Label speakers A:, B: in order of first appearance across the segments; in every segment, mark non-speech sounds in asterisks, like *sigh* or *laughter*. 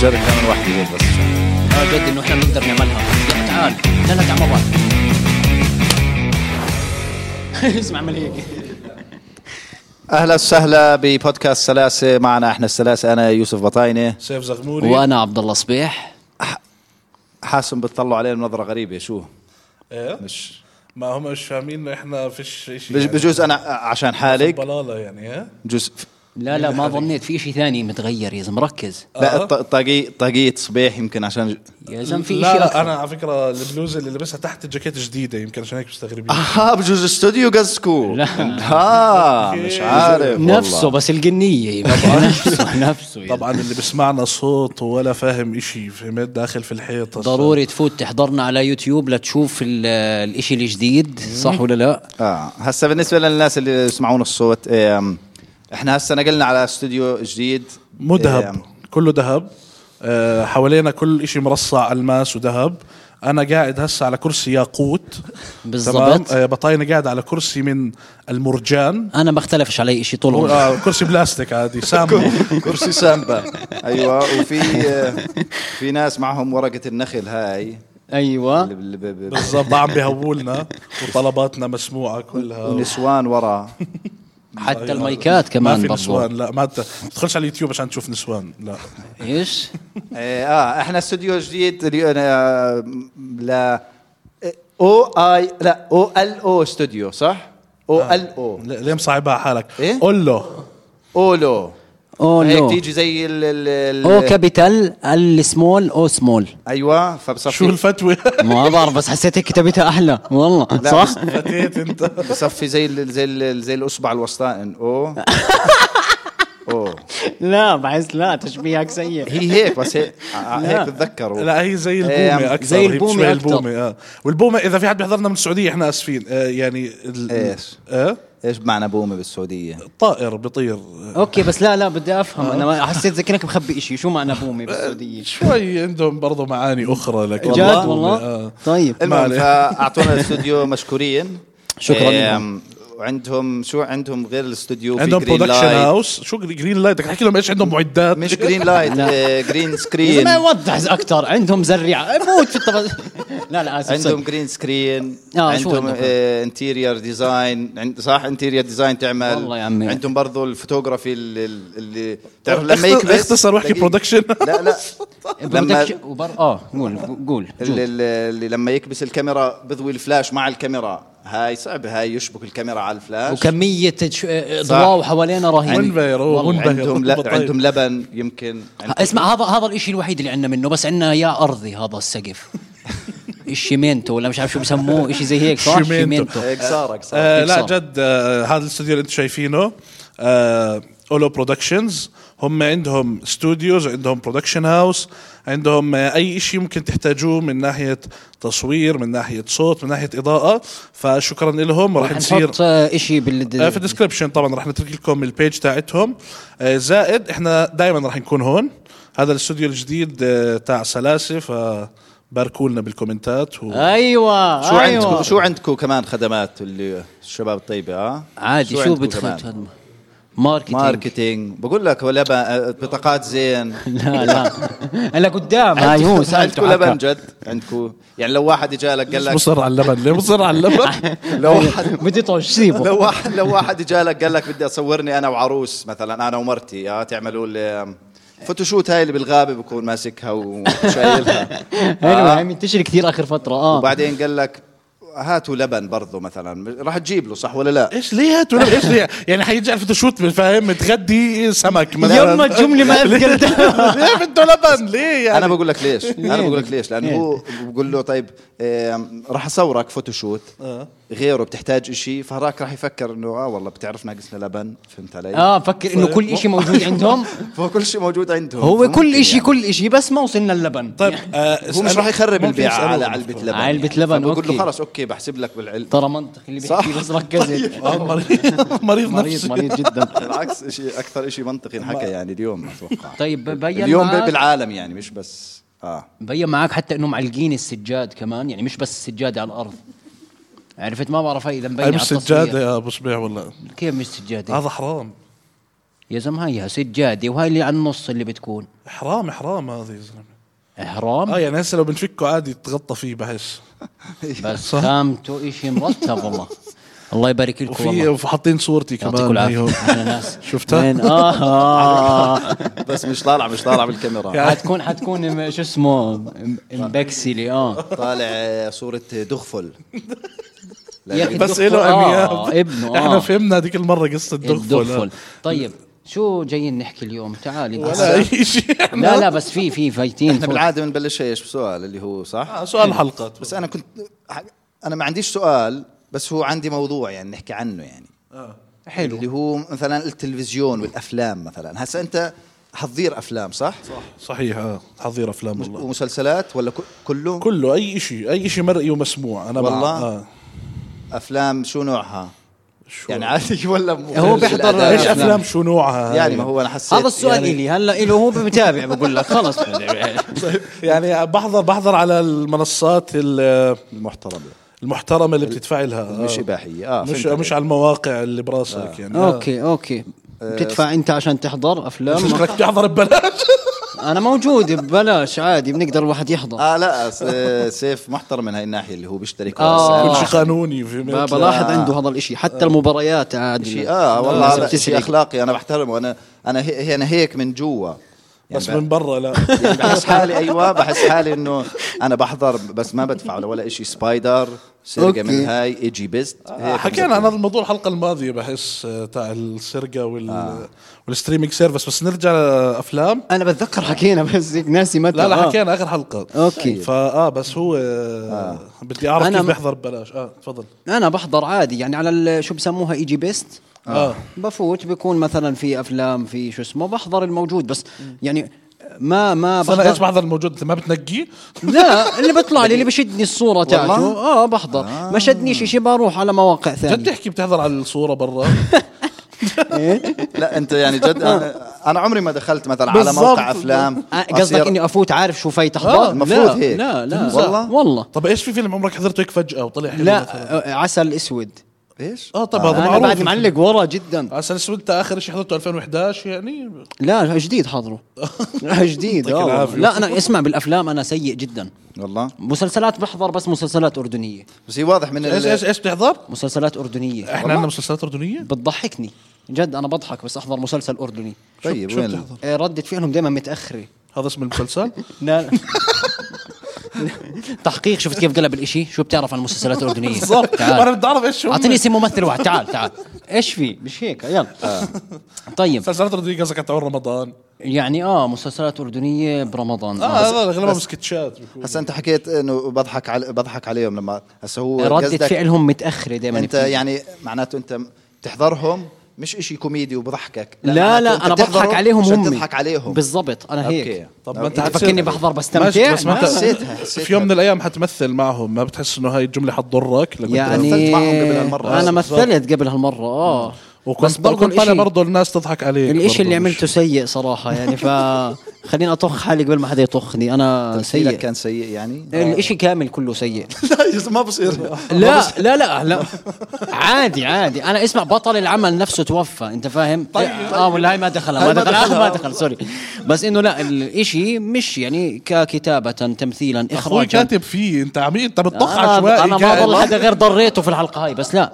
A: جرب تعمل واحدة هيك بس
B: اه جد انه احنا بنقدر
C: يعني
B: نعملها يلا تعال تعال تعال مع بعض
C: *laughs*
B: اسمع عمل هيك
A: أهلا وسهلا ببودكاست سلاسة معنا احنا السلاسة أنا يوسف بطاينة
D: سيف زغموري
C: وانا عبد الله صبيح
A: حاسم بتطلعوا علينا بنظرة غريبة شو
D: ايه
A: مش
D: ما هم مش فاهمين احنا فيش شيء
C: يعني
A: بج- بجوز أنا عشان حالق
D: بلاله يعني ها
A: بجوز
C: لا لا ما ظنيت في شيء ثاني متغير يا زلمه مركز
A: لا الط- طاقية طاقية صبيح يمكن عشان
C: *laughs*
A: ج-
C: يا زلمه في
D: لا
C: شيء
D: لا
C: أكثر.
D: انا على فكره البلوزه اللي لابسها تحت الجاكيت جديده يمكن عشان هيك مستغربين
C: آه.
A: اها آه، بجوز استوديو قصكو
C: لا.
A: ها مش عارف
C: نفسه
A: والله
C: بس القنيه *laughs* نفسه نفسه يا
D: طبعا اللي بيسمعنا صوت ولا فاهم إشي فهمت داخل في الحيط أصلاً.
C: ضروري تفوت تحضرنا على يوتيوب لتشوف ال- الاشي الجديد صح ولا لا
A: اه هسا بالنسبة للناس اللي يسمعون الصوت آم، احنا هسا نقلنا على استوديو جديد إيه،
D: مو
A: آم،
D: ذهب كله ذهب آه، حوالينا كل إشي مرصع الماس وذهب انا قاعد هسه على كرسي ياقوت
C: *laughs* بالضبط.
D: آه، بطاينه قاعد على كرسي من المرجان
C: انا ما اختلفش علي اشي طول
D: هو-
C: عمري
D: آه، كرسي بلاستيك عادي سامه
C: *laughs*
A: كرسي سامبا ايوه وفي في ناس معهم ورقه النخل هاي اللي
C: ايوه
A: بال- ب- ب-
D: بالضبط عم بيهولنا وطلباتنا مسموعه كلها
A: ونسوان ورا
C: حتى المايكات كمان
D: ما في
C: برضو
D: نسوان لا ما ت- تدخلش على اليوتيوب عشان تشوف نسوان لا
C: *laughs* ايش
A: إيه، اه احنا استوديو جديد اليو- آه، لا او اي لا او ال او استوديو صح؟ او ال او
D: ل- ليه مصعبها على حالك
A: إيه؟
D: قول له
A: اولو
C: أو
A: هيك
C: لو.
A: تيجي زي ال ال- ال-
C: او كابيتال السمول او سمول
A: ايوه فبصفي
D: شو الفتوى *laughs*
C: ما بعرف بس حسيت هيك كتابتها احلى والله
A: لا،
C: صح
A: بس-
D: فتيت انت
A: بصفي زي ال زي ال زي الاصبع الوسطائن او او
C: لا بحس لا تشبيهك سيء
A: هي هيك بس هيك ع-
C: لا.
A: هيك بتذكروا
D: لا هي زي
A: إيه، عم-
D: البومه اكثر
C: زي
D: هي
C: البومة
D: بتشبه
C: أكتر.
D: البومه اه والبومه اذا في حد بيحضرنا من السعوديه احنا اسفين آه يعني ال-
A: إيش؟
D: آه
A: ايش معنى بومه بالسعوديه؟
D: طائر بيطير
C: اوكي بس لا لا بدي افهم انا ما- حسيت زي كانك مخبي شيء شو معنى بومي بالسعوديه
D: شوي عندهم برضه معاني اخرى لكن
C: جد
A: أه، والله؟ أه.
C: والله
D: آه.
C: طيب
A: المهم
D: عليه.
A: فاعطونا
C: *laughs*
A: الاستوديو مشكورين
C: شكراً
A: آم، وعندهم شو عندهم غير الاستوديو في
D: عندهم
A: جرين
D: برودكشن
A: لايت
D: هاوس شو جرين لايت بدك تحكي لهم ايش عندهم معدات
A: مش جرين لايت
C: لا.
A: آه،
C: *laughs*
A: جرين
C: إذا
A: سكرين
C: ما يوضح اكثر عندهم زريعه موت في التفاصيل لا لا اسف
A: عندهم
C: عندهم
A: جرين سكرين
C: آه، شو
A: عندهم
C: عندهم؟
A: انتيرير ديزاين عند صح انتيرير ديزاين تعمل
C: والله يا عمي.
A: عندهم برضو الفوتوغرافي ال- ال- اللي بتعرف
D: اخت-
A: لما يكبس
D: اختصر واحكي
A: تلاقيه-
D: production.
A: لا
C: *laughs*
A: لا لما
C: وبر... اه قول قول
A: اللي,
C: جود.
A: اللي لما يكبس الكاميرا بضوي الفلاش مع الكاميرا هاي صعبة هاي يشبك الكاميرا على الفلاش
C: وكميه تش... اضواء حوالينا رهيبه
D: منبهر هو منبهر
A: عندهم ل...
D: بطير.
A: عندهم لبن يمكن عند-
C: اسمع هذا هذا الشيء الوحيد اللي عندنا منه بس عندنا يا ارضي
A: *laughs*
C: هذا السقف الشيمينتو ولا مش عارف شو بسموه شيء زي هيك صح
D: شيمينتو.
C: شيمينتو
A: إيه، قصارة
D: آه
A: قصارة
D: لا
C: بيكسار.
D: جد آه هذا الاستوديو اللي انتم شايفينه آه اولو برودكشنز هم عندهم ستوديوز عندهم برودكشن هاوس عندهم آه اي شيء ممكن تحتاجوه من ناحيه تصوير من ناحيه صوت من ناحيه اضاءه فشكرا لهم راح نصير
C: حنحط آه، شيء بال
D: آه في الديسكربشن طبعا راح نترك لكم البيج تاعتهم آه زائد احنا دائما راح نكون هون هذا الاستوديو الجديد آه تاع سلاسه فباركوا لنا بالكومنتات و...
C: ايوه
A: آه،
D: آه،
A: شو
C: أيوة.
A: عندكم شو عندكم كمان خدمات اللي الشباب الطيبة اه
C: عادي شو
A: عندكم
C: بدخل
A: كمان؟
C: تهدم؟ ماركتينج
A: ماركتينج بقول لك ولا بطاقات زين
C: لا
A: *laughs*
C: لا هلا قدام أيوه، هاي هو
A: عندكم لبن
C: سالته
A: جد عندكم يعني لو واحد اجى لك قال
D: ليش
A: لك
D: مصر على اللبن ليه مصر على
C: *laughs*
D: اللبن
A: لو واحد
C: بدي طش
A: *laughs*
C: سيبه
A: لو واحد لو واحد اجى لك قال لك بدي اصورني انا وعروس مثلا انا ومرتي اه تعملوا ال- فوتوشوت هاي اللي بالغابه بكون ماسكها وشايلها
C: *laughs*
A: آه،
C: حلو هاي منتشر أيوة، كثير اخر فتره اه
A: وبعدين قال لك هاتوا لبن برضه مثلا راح تجيب له صح ولا لا؟
D: ايش ليه هات ولا ايش ليه يعني حيجي على الفوتوشوت فاهم متغدي سمك مثلا
C: يما الجملة
A: *laughs*
C: ما أثقلتها.
D: *laughs* ليه بده لبن ليه يعني
A: انا بقول لك
C: *laughs*
A: ليش انا
C: ليه؟
A: بقول لك ليش لانه
C: ليه؟
A: هو بقول له طيب آم، راح اصورك فوتوشوت
C: آه.
A: غيره بتحتاج إشي فهراك راح يفكر انه اه والله بتعرف ناقصنا لبن فهمت علي؟
C: اه فكر انه كل شيء موجود عندهم
A: فكل شيء موجود عندهم
C: هو
A: فممكن
C: كل شيء
A: يعني.
C: كل شيء بس ما وصلنا اللبن
D: طيب
A: هو مش راح يخرب البيع على علبة لبن
C: علبة لبن،
A: بقول له
C: أوكي. طيب.
A: خلص أوكي بحسب لك بالعلبة
C: ترى منطق اللي بيحكي
A: صح.
C: بس *laughs* ركزت
D: آه، مريض طيب. *laughs* مريض
C: مريض
D: نفسي
C: مريض جدا
A: بالعكس شيء أكثر شيء منطقي انحكى يعني اليوم أتوقع
C: طيب بين
A: اليوم ب-
C: معك-
A: بالعالم يعني مش بس آه
C: بين معك حتى انهم معلقين السجاد كمان يعني مش بس السجاده على الارض عرفت ما بعرف هي اذا مبين
D: هاي
A: يعني
C: على
D: مش
C: التصوير.
D: سجاده يا ابو صبيح والله
C: كيف مش سجاده
D: هذا حرام
C: يا زلمه هيها سجاده وهي اللي على النص اللي بتكون
D: حرام حرام هذا يا زلمه اه
C: احرام
D: يعني هسه لو بنفكه عادي تغطى فيه بحس
C: بس خامته اشي مرتب والله الله يبارك لكم
D: وفي
C: والله
D: وحاطين صورتي
C: يعطيكم
D: كمان هي
C: العافيه
D: هون.
C: احلى ناس
D: شفتها؟
C: وين؟ اه
D: *laughs*
C: آه.
A: بس مش طالع مش طالع
C: *laughs*
A: بالكاميرا
C: حتكون حتكون م- شو اسمه م- مبكسلي اه
A: طالع آه، صورة دغفل *laughs*
C: يا أخي
D: بس
C: الدكتور-
D: له
C: آه،
D: انياب
C: ابنه آه.
D: احنا فهمنا هذيك المره قصه الدغفل
C: الدغفل
A: آه.
C: طيب شو جايين نحكي اليوم تعال انت
D: ولا اي شيء *laughs*
C: لا لا بس في في فايتين
A: احنا بالعادة بنبلش ايش بسؤال اللي هو صح؟
D: آه، سؤال حلقات
A: بس إيه. انا كنت انا ما عنديش سؤال بس هو عندي موضوع يعني نحكي عنه يعني
C: آه،
D: حلو.
A: اللي هو مثلا التلفزيون والافلام مثلا هسا انت حتضير افلام صح؟ صح
D: صحيح اه حظير افلام والله
A: ومسلسلات ولا ك- كله؟
D: كله اي شيء اي شيء مرئي ومسموع انا مع-
A: والله. يعني
D: آه.
A: افلام شو نوعها؟
D: شو-
A: يعني عادي *laughs* ولا
C: هو بيحضر
A: الأداء؟
D: ايش
C: أفلام.
D: افلام شو نوعها هاي؟
A: يعني ما هو انا حسيت
C: هذا السؤال
A: يعني
C: الي هلا له هو متابع بقول لك
D: *laughs*
C: خلص
D: يعني بحضر بحضر على المنصات ال-
A: المحترمة
D: المحترمه اللي بتدفع لها آه.
A: مش اباحية اه
D: مش
A: فهمت
D: مش على المواقع اللي براسك يعني آه.
C: اوكي اوكي بتدفع انت عشان تحضر افلام
D: *laughs* شكلك بتحضر ببلاش
C: انا موجود ببلاش عادي بنقدر الواحد
D: آه،
C: يحضر
A: اه لا س- سيف محترم من هاي الناحيه اللي هو بيشتري كراسي
C: آه.
D: كل شيء قانوني في
C: ب-
D: مثل-
C: بلاحظ عنده هذا الاشي حتى
D: آه.
C: المباريات عادي آه،
A: شيء اه والله
C: لازم
A: هذا شيء
C: تسعد.
A: اخلاقي انا بحترمه انا انا هي هي- انا هيك من جوا يعني
D: بس
A: بح-
D: من برا
A: *laughs*
D: لا
A: يعني بحس حالي ايوه بحس حالي انه انا بحضر بس ما بدفع ولا ولا شيء سبايدر سرقه
C: أوكي.
A: من هاي ايجي بيست هيك
D: آه، حكينا عن هذا الموضوع الحلقه الماضيه بحس آه، تاع السرقه وال
A: آه.
D: والستريمينج سيرفيس بس نرجع لافلام
C: انا بتذكر حكينا بس هيك ناسي متى
D: لا لا
C: آه.
D: حكينا اخر حلقه
C: أوكي.
D: فاه بس هو آه. بدي اعرف
C: أنا
D: كيف
C: م-
D: بيحضر ببلاش اه تفضل
C: انا بحضر عادي يعني على ال- شو بسموها اي جي بيست
D: آه.
C: بفوت بيكون مثلا في افلام في شو اسمه بحضر الموجود بس يعني ما ما
D: بس انا ايش
C: بحضر
D: بحضر الموجود انت ما بتنقيه
C: *laughs* لا اللي بيطلع لي اللي بشدني الصوره تاعته
A: والله؟
C: اه بحضر آه. ما شدنيش شيء بروح على مواقع
D: جد
C: ثانيه
D: احكي بتحضر على الصوره برا
C: إيه؟
A: لا انت يعني جد انا, أنا عمري ما دخلت مثلا *laughs* على
D: بالضبط.
A: موقع افلام
C: آه،
A: أصير-
C: قصدك اني افوت عارف شو فايت احضر
A: آه، المفروض
C: لا،
A: هيك.
C: لا لا
A: والله؟
C: والله
D: طب ايش في فيلم عمرك حضرته هيك فجاه وطلع حلو مثلاً؟
C: لا آه، عسل اسود
A: ايش؟
D: اه طب هذا
C: انا
D: معروف
C: بعد معلق ورا جدا
D: عسل اسود انت اخر شيء حضرته 2011 يعني
C: لا جديد
A: *laughs*
C: حضره جديد
D: يعطيك
C: آه، والله.
D: العافية.
C: لا انا اسمع بالافلام انا سيء جدا
A: والله
C: مسلسلات بحضر بس مسلسلات اردنيه
A: بس هي واضح من
D: ايش
A: ال-
D: ايش ايش بتحضر؟
C: مسلسلات اردنيه
D: احنا عندنا مسلسلات اردنيه؟
C: بتضحكني جد انا بضحك بس احضر مسلسل اردني
A: طيب
D: شو
A: وين
D: بتحضر؟
C: آه، ردة فعلهم دائما متاخره
D: هذا
C: *laughs*
D: اسم المسلسل؟
C: لا لا. تحقيق شفت كيف قلب الاشي شو بتعرف عن
A: *laughs*
C: المسلسلات الاردنيه
D: *laughs* بالضبط
C: تعال
D: انا بدي اعرف ايش هم
C: اعطيني اسم ممثل واحد تعال تعال ايش في مش هيك
A: آه.
C: يلا طيب
D: مسلسلات اردنيه قصدك على رمضان
C: يعني اه مسلسلات اردنيه برمضان
A: آه،
D: اه هذا اغلبهم سكتشات
A: هسا انت حكيت انه بضحك على بضحك عليهم لما هسا هو
C: ردة
A: آه، قصدك
C: فعلهم متأخرة دائما
A: انت يعني معناته انت بتحضرهم مش إشي كوميدي وبضحكك
C: لا
A: معناته أنت
C: لا انا بضحك
A: بتحضره
C: عليهم
A: عشان
C: هم
A: تضحك عليهم
C: بالضبط انا هيك
A: أوكي.
D: طب ما انت
C: أنت
D: حتصير-
C: فكرني بحضر بستمتع؟
D: ماشي، بس ما
C: لا.
D: انت
A: حسيتها- حسيتها.
D: في يوم من الايام حتمثل معهم ما بتحس انه هاي الجمله حتضرك لما
C: يعني
A: مثلت معهم قبل هالمرة.
C: انا
A: آه،
C: مثلت قبل هالمره اه بس
D: وكنت
C: برضه
D: كنت طالع
C: الاشي
D: برضه الناس تضحك عليك
C: الاشي
D: برضه
C: يعني اللي
D: مش-
C: عملته سيء صراحه يعني *laughs* ف خليني اطخ حالي قبل ما حدا يطخني انا
A: سيء
C: سيء
A: كان سيء
C: *laughs*
A: يعني
C: الاشي كامل كله سيء
A: لا ما
C: *laughs*
A: بصير
C: آه. لا لا لا لا عادي عادي انا اسمع بطل العمل نفسه توفى انت فاهم طيب اه ولا هاي ما دخلها ما
A: هاي ما
C: دخل آه،
A: دخلها.
C: ما دخل سوري بس انه لا الاشي مش يعني ككتابه تمثيلا
D: اخوي
C: اخراجا
D: كاتب فيه انت عمي انت بتطخ
C: انا
D: عشوائي
C: انا ما
D: قاعد.
C: ضل حدا غير ضريته في الحلقه هاي بس لا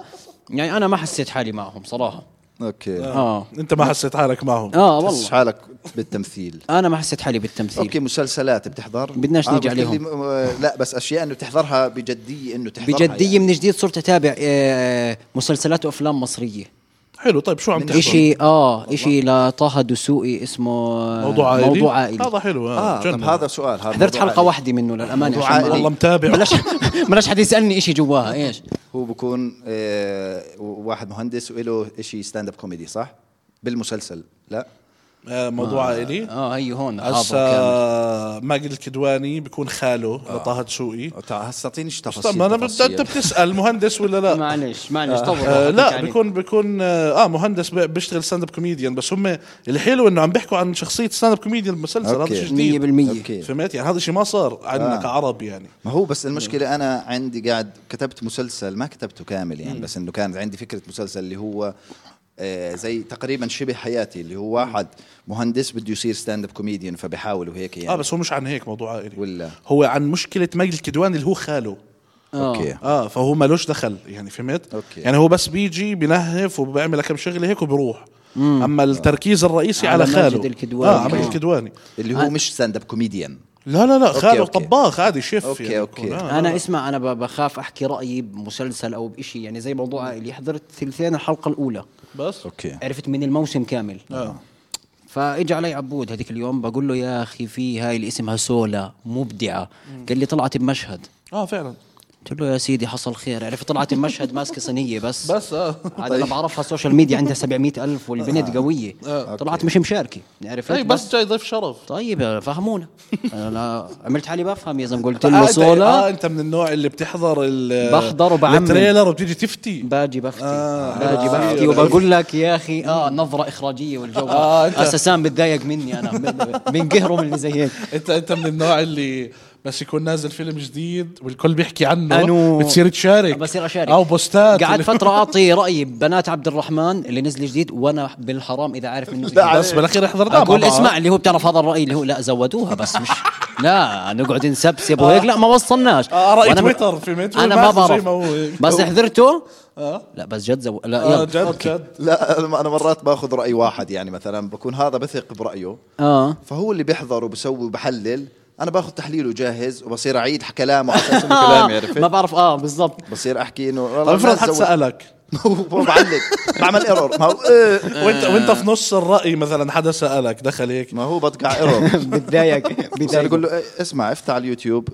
C: يعني انا ما حسيت حالي معهم صراحه
A: اوكي
C: اه
D: انت ما حسيت حالك معهم
C: اه
A: بس
C: والله
A: حالك بالتمثيل
C: انا ما حسيت حالي بالتمثيل
A: اوكي مسلسلات بتحضر
C: بدناش نيجي
A: قلت لي
C: عليهم.
A: م- م- لا بس اشياء انه تحضرها بجديه انه تحضرها
C: بجديه
A: يعني.
C: من جديد صرت اتابع آه، مسلسلات وافلام مصريه
D: حلو طيب شو عم تحضر؟
C: اشي اه اشي لطه دسوقي اسمه آه،
D: موضوع عائلي
C: موضوع عائلي آه،
D: هذا حلو
A: اه
D: اه
A: طب
D: جنة.
A: هذا سؤال هذا
C: حضرت
A: موضوع
C: حلقه
A: عائلي.
C: واحده منه للامانه
A: موضوع
C: عشان ما-
A: عائلي.
C: *laughs*
D: والله متابع
C: بلاش بلاش حد يسالني اشي جواها ايش
A: هو بكون آه واحد مهندس وله شيء ستاند اب كوميدي صح؟ بالمسلسل لا
D: آه، موضوع عائلي
C: اه هي هون حاضر
D: هسا ماجد الكدواني بكون خاله
C: آه.
D: لطه دسوقي
A: تع- هسا اعطينيش تفاصيل
D: طب ما انا بدي
A: تفاصيل.
D: انت بتسال مهندس ولا
C: *laughs* كامل.
D: لا؟
C: معلش معلش تفضل يعني
D: آه
C: حكيت
D: لا
C: عليك.
D: بيكون بيكون اه آه، مهندس بي- بيشتغل ستاند اب كوميديان بس هم الحلو انه عم بيحكوا عن شخصيه ستاند اب كوميديان بالمسلسل هذا
A: أوكي.
D: شيء
C: مية
D: جديد
C: بالمية
A: أوكي.
D: فهمت يعني هذا الشيء ما صار عندنا آه. كعرب يعني
A: ما هو بس المشكلة أنا عندي قاعد كتبت مسلسل ما كتبته كامل يعني بس إنه كانت عندي فكرة مسلسل اللي هو آه، زي تقريبا شبه حياتي اللي هو واحد مهندس بده يصير ستاند اب كوميديان فبيحاول وهيك
D: اه
A: يعني
D: بس هو مش عن هيك موضوع عائلي
A: ولا.
D: هو عن مشكله مجد الكدواني اللي هو خاله
C: آه.
A: اوكي
D: اه فهو مالوش دخل يعني فهمت
A: أوكي.
D: يعني هو بس بيجي بنهف وبيعمل كم شغله هيك وبيروح اما التركيز الرئيسي على,
C: على
D: خاله
C: ماجد الكدواني.
D: اه على ماجد
C: آه.
D: الكدواني
A: اللي هو مش ستاند اب كوميديان
D: لا لا لا
A: أوكي،
D: خاله
A: أوكي.
D: طباخ عادي شيف
A: أوكي،
D: يعني
A: أوكي.
D: بيكون. آه.
C: انا اسمع انا ب- بخاف احكي رايي بمسلسل او بإشي يعني زي موضوع اللي حضرت ثلثين الحلقه الاولى
D: بس
A: اوكي
C: عرفت من الموسم كامل آه. فاجى علي عبود هذيك اليوم بقول له يا اخي في هاي اللي اسمها سولا مبدعه قال لي طلعت بمشهد
D: اه فعلا
C: قلت له يا سيدي حصل خير عرفت طلعت بمشهد ماسكه صينيه بس
D: بس اه
C: هذا انا بعرفها السوشيال ميديا عندها 700 الف
D: آه.
C: والبنت قويه طلعت مش مشاركه عرفت
D: هي إيه، بس جاي ضيف شرف
C: طيب فهمونا انا عملت حالي بفهم يا زلمه قلت
D: آه،
C: له
D: أنت- اه
C: صولا
D: انت من النوع اللي بتحضر ال
C: بحضر وبعمم.
D: التريلر وبتيجي تفتي
C: باجي بفتي
D: آه،
C: باجي
D: آه.
C: بفتي وبقول لك يا اخي اه نظره اخراجيه والجو
D: آه، أنت-
C: اساسا بتضايق مني انا من- من قهره من اللي زي هيك
D: انت انت من النوع اللي بس يكون نازل فيلم جديد والكل بيحكي عنه
C: أنو-
D: بتصير تشارك
C: بصير اشارك
D: او بوستات
C: قعدت
D: اللي-
C: فتره اعطي رايي ببنات عبد الرحمن اللي نزل جديد وانا بالحرام اذا عارف منه جديد.
D: بس بالاخير حضرناه
C: اقول
D: مع بعض.
C: اسمع اللي هو بتعرف هذا الراي اللي هو لا زودوها بس
D: *laughs*
C: مش لا نقعد نسبسب وهيك لا ما وصلناش
D: آه، رأي
C: وأنا ما-
D: تويتر في متر
C: انا ما
D: والماس زي ما هو
C: بعرف
D: هيك.
C: بس حضرته
D: آه.
C: لا بس جد زو... لا
D: اه
C: يلا
D: جد جد
A: لا انا أنا مرات باخذ راي واحد يعني مثلا بكون هذا بثق برايه
C: اه
A: فهو اللي بيحضر وبسوي وبحلل انا باخذ تحليله جاهز وبصير اعيد كلامه على
D: *laughs*
A: اساس إنه كلامي
C: ما
A: عرفت
C: بعرف اه بالضبط
A: بصير احكي انه
D: طب
A: والله
D: افرض
A: الناس
D: حد
A: زودوا.
D: سالك
A: وبعلق بعمل ايرور ما هو إيه.
D: وانت وانت في نص الراي مثلا حدا سالك دخل هيك
A: ما هو بطقع ايرور
D: *laughs*
C: بتضايق
A: بصير
C: بتضايق
A: يقول له إيه، اسمع افتح على اليوتيوب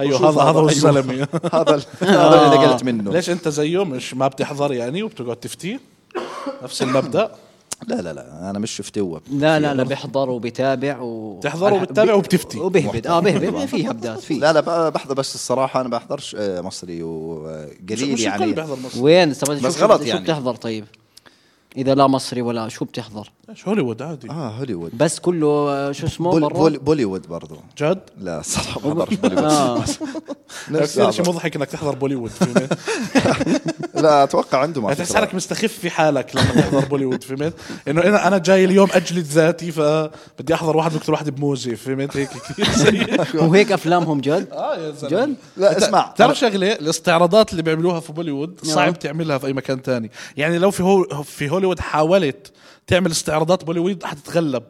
D: ايوه
A: وشوف
D: هذا هذا هو
A: أيوه.
D: الزلمه
A: *laughs* هذا ال- هذا اللي نقلت منه
D: *laughs* ليش انت زيه مش ما بتحضر يعني وبتقعد تفتي نفس المبدا
A: لا لا لا انا مش فتوه
C: لا لا لا بيحضر وبيتابع و
D: بتحضر وبتتابع
C: بي-
D: وبتفتي.
C: وبهبد اه بهبد ما في هبدات في
A: لا لا ب- بحضر بس الصراحه انا بحضرش آه، مصري وقليل
D: مش الكل
A: يعني
D: بيحضر مصر
C: وين بس
A: بس غلط
C: شو
A: يعني.
C: بتحضر طيب اذا لا مصري ولا شو بتحضر
D: ايش هوليوود عادي
A: اه هوليوود
C: بس كله آه، شو اسمه
A: بول
C: برا؟
A: بول بوليوود برضه
D: جد
A: لا صراحه ما بحضرش
C: *laughs* آه.
A: بوليوود *laughs* نفس
D: كثير شيء
A: هذا.
D: مضحك انك تحضر بوليوود فهمت؟
A: لا اتوقع عنده ما
D: تحس حالك مستخف في حالك لما تحضر بوليوود فهمت؟ انه انا انا جاي اليوم اجلد ذاتي فبدي احضر واحد دكتور واحد بموزه فهمت هيك كثير سيء
C: وهيك افلامهم جد
D: اه يا زلمه
C: جد
A: لا اسمع
D: أه، تعرف شغله الاستعراضات اللي بيعملوها في بوليوود
C: نعم.
D: صعب تعملها في اي مكان تاني يعني لو في هو في هوليوود حاولت تعمل استعراضات بوليوود حتتغلب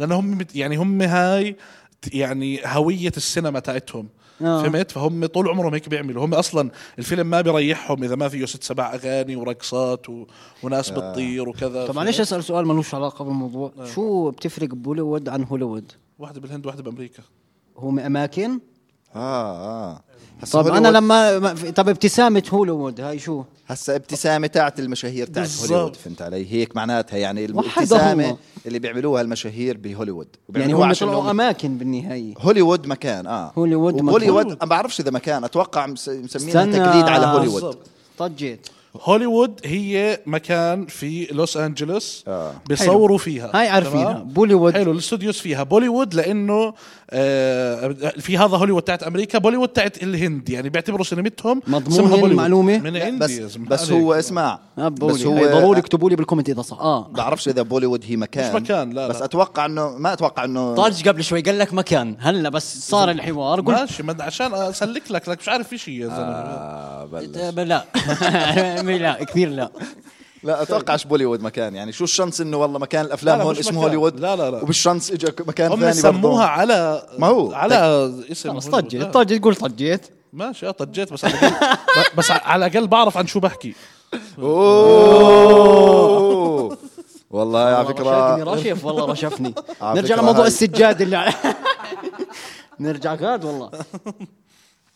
D: لان هم مت- يعني هم هاي ت- يعني هويه السينما تاعتهم
C: آه.
D: فهمت فهم طول عمرهم هيك بيعملوا هم اصلا الفيلم ما بيريحهم اذا ما فيه ست سبع اغاني ورقصات و... وناس بتطير وكذا
C: طب معلش اسال سؤال ملوش علاقه بالموضوع شو بتفرق بوليوود عن هوليوود
D: واحده بالهند واحده بامريكا
C: هم اماكن
A: اه اه هسا
C: طب انا
A: هوليوود-
C: لما ما- طب ابتسامه هوليوود هاي شو
A: هسا ابتسامه تاعت المشاهير تاعت
D: بالظبط.
A: هوليوود فهمت علي هيك معناتها يعني
C: وحدهم.
A: الابتسامه اللي بيعملوها المشاهير بهوليوود
C: يعني
A: وبيعملوها
C: هم
A: عشان
C: طلعوا
A: هم-
C: اماكن بالنهايه
A: هوليوود مكان اه
C: هوليوود مكان.
A: هوليوود ما بعرفش اذا مكان اتوقع مس- مسمينها
C: استنى.
A: تقليد على هوليوود
D: بالظبط.
C: طجيت
A: آه.
D: هوليوود هي مكان في لوس انجلوس
A: آه.
D: بيصوروا فيها
C: هاي عارفينها.
D: تمام؟
C: بوليوود.
D: حلو الاستوديوز فيها بوليوود لانه آه في هذا هوليوود تاعت امريكا بوليوود تاعت الهند يعني بيعتبروا سينمتهم
C: مضمون
D: اسمها
C: هي
D: بوليوود.
C: المعلومة؟
D: من
A: لا،
D: عندي
A: بس
D: يا زلمة.
A: بس
D: عليك.
A: هو اسمع
C: بس
A: بس هو
C: آه، ضروري اكتبوا لي بالكومنت اذا صح اه
A: بعرفش اذا بوليوود هي مكان
D: مش مكان، لا،
A: بس
D: لا.
A: اتوقع انه ما اتوقع انه
C: طرج قبل شوي قال لك مكان هلا بس صار الحوار قلت
D: ماشي ما عشان اسلك لك لك مش عارف في شيء يا زلمه
A: آه، بلش.
C: آه، لا لا *laughs* كثير لا
A: لا اتوقعش بوليوود مكان يعني شو الشانس انه والله مكان الافلام
D: لا، لا،
A: هون
D: مش
A: اسمه
D: مكان.
A: هوليوود
D: لا، لا، لا.
A: وبالشانس اجى مكان
D: هم
A: ثاني برضه
D: سموها على
A: ما هو. طيب.
D: على اسم
C: بس
D: هوليوود.
C: طجيت
D: آه.
C: طجيت قول طجيت
D: ماشي اه طجيت بس على الأقل- *laughs* ب- بس على الاقل بعرف عن شو بحكي
A: اوه والله على
C: رشفني
A: فكره
C: رشف والله *laughs* رشفني
A: على
C: نرجع
A: فكرة
C: لموضوع
A: هاي-
C: السجاد اللي *laughs* على- نرجع قاد والله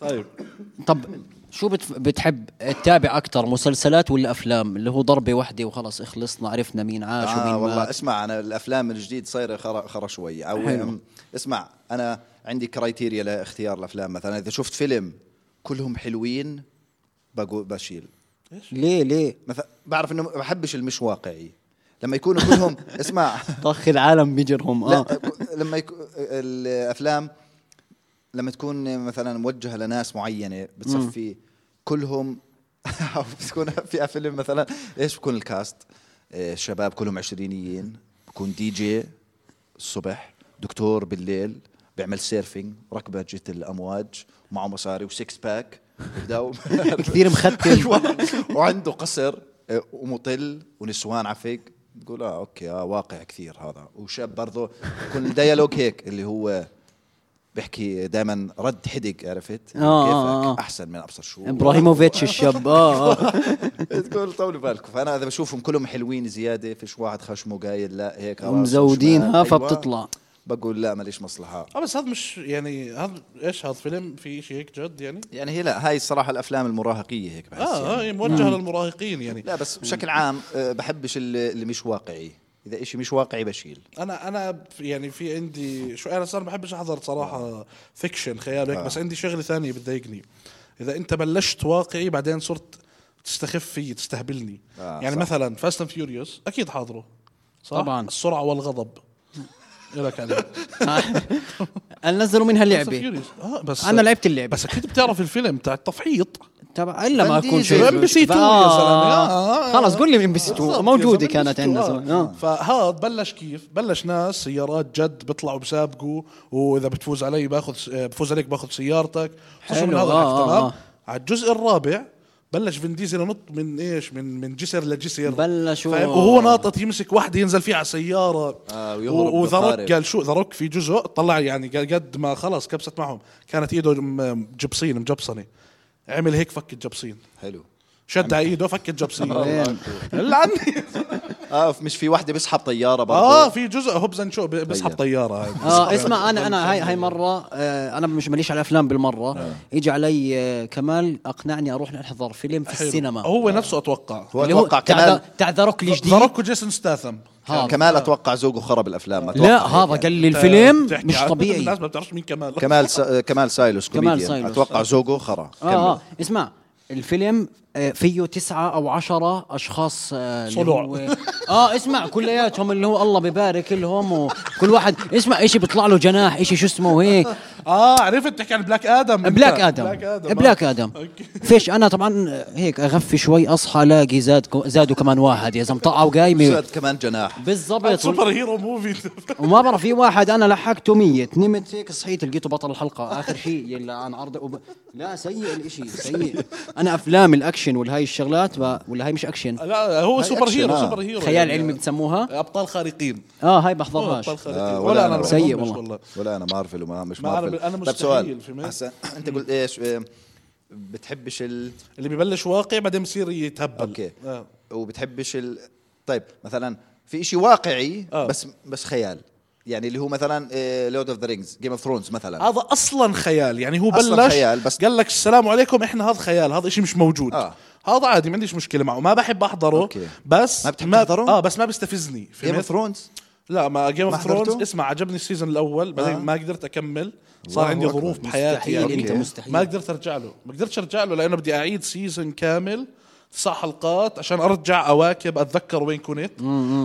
D: طيب
C: طب شو بتف- بتحب تتابع اكثر مسلسلات ولا افلام اللي هو ضربه واحده وخلص خلصنا عرفنا مين عاش
A: آه
C: ومين
A: والله
C: مات
A: اسمع انا الافلام الجديد صايره خرا خرا شوي او أم- اسمع انا عندي كرايتيريا لاختيار الافلام مثلا اذا شفت فيلم كلهم حلوين بقو بشيل
C: *laughs* ليه ليه
A: مثلا بعرف انه ما بحبش المش واقعي لما يكونوا كلهم *laughs* اسمع
C: طخ العالم بيجرهم اه
A: لا لما يك... الافلام لما تكون مثلا موجهه لناس معينه *laughs* بتصفي كلهم أو بتكون في فيلم مثلا ايش بكون الكاست آه، شباب كلهم عشرينيين بكون دي جي الصبح دكتور بالليل بيعمل سيرفينج ركبة جت الأمواج معه مصاري وسكس باك بداوم
C: كثير *laughs* مختل
A: أيوة. *laughs* وعنده قصر آه، ومطل ونسوان عفق تقول اه اوكي اه واقع كثير هذا وشاب برضه كل الديالوج هيك اللي هو بيحكي دائما رد حدق عرفت
C: آه،
A: كيفك
C: آه، آه.
A: احسن من ابصر شو
C: ابراهيموفيتش الشاب اه آه.
A: *laughs* تقول طولوا بالكم فانا اذا بشوفهم كلهم حلوين زياده فيش واحد خشمه قايل لا هيك
C: *laughs*
A: راسه
C: ومزودينها
A: شمال.
C: آه. فبتطلع.
A: أيوة. بقول لا ماليش مصلحه
D: اه بس هذا مش يعني هذا ايش هذا فيلم في شيء هيك جد يعني
A: يعني هي لا هاي الصراحه الافلام المراهقيه هيك بحس
C: آه.
D: اه
A: يعني.
D: هي موجهه للمراهقين يعني
A: لا بس بشكل عام آه، بحبش اللي اللي مش واقعي اذا إشي مش واقعي بشيل
D: انا انا يعني في عندي شو انا صار ما بحبش احضر صراحه فيكشن خيال هيك
C: آه.
D: بس عندي شغله ثانيه بتضايقني اذا انت بلشت واقعي بعدين صرت تستخف فيي تستهبلني
A: آه،
D: يعني
A: صح.
D: مثلا فاست اند فيوريوس اكيد حاضره صح
C: طبعاً.
D: السرعه والغضب إيه لك عليه
C: نزلوا منها لعبه
D: اه بس
C: أنا لعبت اللعبة.
D: بس اكيد بتعرف الفيلم تاع التفحيط
C: تبع الا ما
A: فان
C: اكون
A: ديزل.
C: شايف
D: ام بي سي 2 يا
C: آه.
D: زلمه آه.
C: خلص قول لي ام بي سي 2
D: بالضبط،
C: موجوده
D: يا زلمة
C: كانت
D: شفتوا،
C: عندنا
D: آه.
C: زمان آه.
D: فهذا بلش كيف بلش ناس سيارات جد بيطلعوا بسابقوا واذا بتفوز علي باخذ آه، بفوز عليك باخذ سيارتك خصوصاً من
C: حلو،
D: هذا
C: آه، آه،
D: الحكي، تمام
C: آه.
D: على الجزء الرابع بلش فين ديزل ينط من ايش من من جسر لجسر
C: بلشوا-
D: فاهم؟ وهو ناطط يمسك واحد ينزل فيه على سياره
A: آه، ويهرب
D: وذا روك
A: بالقارب.
D: قال شو ذا روك في جزء طلع يعني قال قد ما خلص كبست معهم كانت ايده م- جبصين مجبصنه عمل هيك فك الجبصين
A: حلو
D: شد على ايده
C: *laughs*
D: فك آه. الجبسيه
C: وين؟
D: *laughs* هلا عني
A: اه مش في واحده بسحب طياره
C: طيب،
A: برضه
D: اه في جزء هوبز اند شو ب- بسحب
A: طيب.
D: طياره هاي.
C: اه اسمع انا انا هاي هاي مره آه انا مش ماليش على الافلام بالمره اجى علي آه كمال اقنعني اروح احضر فيلم في
D: حلو.
C: السينما
D: هو نفسه اتوقع
A: هو اتوقع كمال
C: تعذرك لي جديد
D: ذروك وجيسون ستاثم
C: هذا.
A: كمال اتوقع ذوقه خرب الافلام أتوقع
C: لا
D: آه.
A: هيك
C: هذا
A: يعني.
C: قال لي الفيلم
D: بتحكي
C: مش
D: عن-
C: طبيعي
D: الناس ما بتعرفش مين كمال
A: كمال س... آه، كمال سايلوس
C: كمال
A: كوميديان
C: سايلوس.
A: اتوقع ذوقه خرا كمل.
C: آه, اه اسمع الفيلم آه، فيه تسعة أو عشرة أشخاص آه، اللي
D: صلوع.
C: هو- آه اسمع كلياتهم اللي هو الله ببارك لهم وكل واحد اسمع إشي بيطلع له جناح إشي شو اسمه
D: *laughs*
C: وهيك
D: اه عرفت تحكي عن بلاك ادم أنت.
C: بلاك ادم
D: بلاك ادم
C: بلاك
D: آه.
C: ادم
D: أوكي.
C: فيش انا طبعا هيك اغفي شوي اصحى الاقي زاد زادوا كمان واحد يا زلمه طلعوا قايمه
A: زاد كمان جناح
C: بالضبط
D: سوبر هيرو موفي *laughs*
C: وما بعرف في واحد انا لحقته ميت نمت هيك صحيت لقيته بطل الحلقه اخر شيء يلا عن عرض وب... لا سيء الاشي سيء انا افلام الاكشن والهاي الشغلات ب... ولا هاي مش اكشن
D: لا هو
A: هاي
D: سوبر
A: أكشن،
D: هيرو
A: آه.
D: سوبر هيرو
C: خيال
D: يعني.
C: علمي بتسموها
D: ابطال خارقين
C: اه هاي
D: آه،
C: بحضرهاش
D: ابطال خارقين
A: آه،
D: ولا انا
C: سيء
D: بحبهمش
C: والله.
D: والله
A: ولا انا مارفل وما مش
D: ما أنا-
A: مارفل
D: أنا
A: طب
D: مستحيل
A: سؤال،
D: في مين؟
A: هسا انت قلت ايش آه، بتحبش ال
D: اللي ببلش واقع بعدين بصير يتهبل
A: اوكي
D: آه.
A: وبتحبش ال طيب مثلا في شيء واقعي
D: آه.
A: بس بس خيال يعني اللي هو آه، مثلا لورد اوف ذا رينجز جيم اوف ثرونز مثلا
D: هذا اصلا خيال يعني هو
A: أصلاً
D: بلش
A: خيال، بس-
D: قال لك السلام عليكم احنا هذا خيال هذا شيء مش موجود
A: آه.
D: هذا عادي ما عنديش مشكله معه ما بحب احضره
A: أوكي.
D: بس
A: ما بتحب تحضره؟
D: اه بس ما بيستفزني
A: جيم
D: فهمت
A: اوف ثرونز
D: لا ما جيم
A: ما
D: اوف ثرونز
A: حضرته؟ آه.
D: اسمع عجبني السيزون الاول بعدين ما قدرت اكمل صار
A: الله
D: عندي
A: أكبر.
D: ظروف بحياتي يعني.
C: مستحيل أنت مستحيل.
D: ما قدرت ارجع له ما قدرتش ارجع له لانه بدي اعيد سيزون كامل تسع حلقات عشان ارجع اواكب اتذكر وين كنت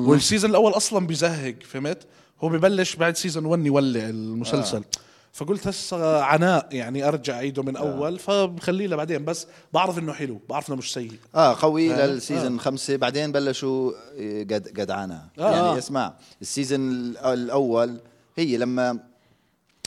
D: والسيزون الاول اصلا بزهق فهمت هو ببلش بعد سيزون 1 يولع المسلسل
A: آه.
D: فقلت هسه عناء يعني ارجع اعيده من اول فبخليه لبعدين بس بعرف انه حلو بعرف انه مش سيء
A: اه قوي
D: آه.
A: للسيزون خمسة بعدين بلشوا آه، قد جدعانة
D: آه.
A: يعني اسمع السيزون ال- الاول هي لما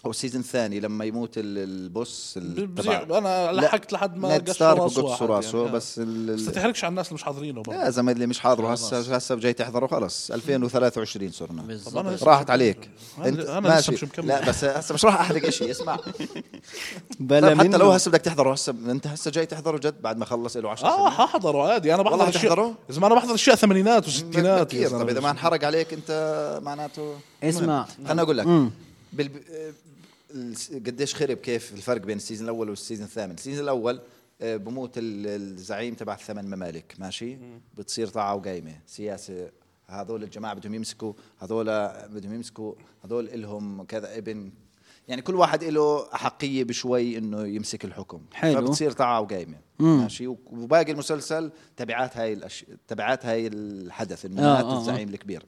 A: او السيزون الثاني لما يموت ال- البوس ال-
D: بزيع-
A: تبع-
D: أنا
A: لا،
D: لحقت لحد ما
A: نيد
D: قشوا
A: ستارك
D: راسه
A: وقصوا
D: واحد
A: راسه
D: يعني. آه.
A: بس ال-
D: بس آه،
A: ال-
D: تحرقش على الناس اللي مش حاضرينه برضه.
A: يا زلمه اللي مش حاضره هسه هسه جاي تحضره خلص 2023 صرنا
C: بالضبط.
D: أنا لسه-
A: راحت عليك
D: أنا-
A: انت
D: أنا
A: ماشي.
D: لسه مش مكمل.
A: لا بس هسه مش راح احرق شيء
D: *laughs*
A: اسمع
C: بلا
A: طيب حتى
C: منه.
A: لو هسه بدك تحضره هسه انت هسه جاي تحضره جد بعد ما خلص له 10
D: اه
A: سنين
D: ححضره عادي انا بحضر
A: والله
D: اشياء
A: تحضره؟ طيب
D: اذا ما انا بحضر اشياء ثمانينات وستينات
A: بكير.
D: يا زلمة.
A: طب اذا ما انحرق عليك انت معناته
C: اسمع.
A: المهم. انا اقول لك بالب... آه، الس- قديش خرب كيف الفرق بين السيزون الاول والسيزون الثامن السيزون الاول آه، بموت ال- الزعيم تبع الثمان ممالك ماشي بتصير طاعه وقايمه سياسه هذول الجماعه بدهم يمسكوا هذول بدهم يمسكوا هذول إلهم كذا ابن يعني كل واحد له احقيه بشوي انه يمسك الحكم
C: حلو.
A: فبتصير طاعه وقايمه ماشي وباقي المسلسل تبعات هاي الاشياء تبعات هاي الحدث انه
C: آه،
A: مات
C: آه، آه.
A: الزعيم الكبير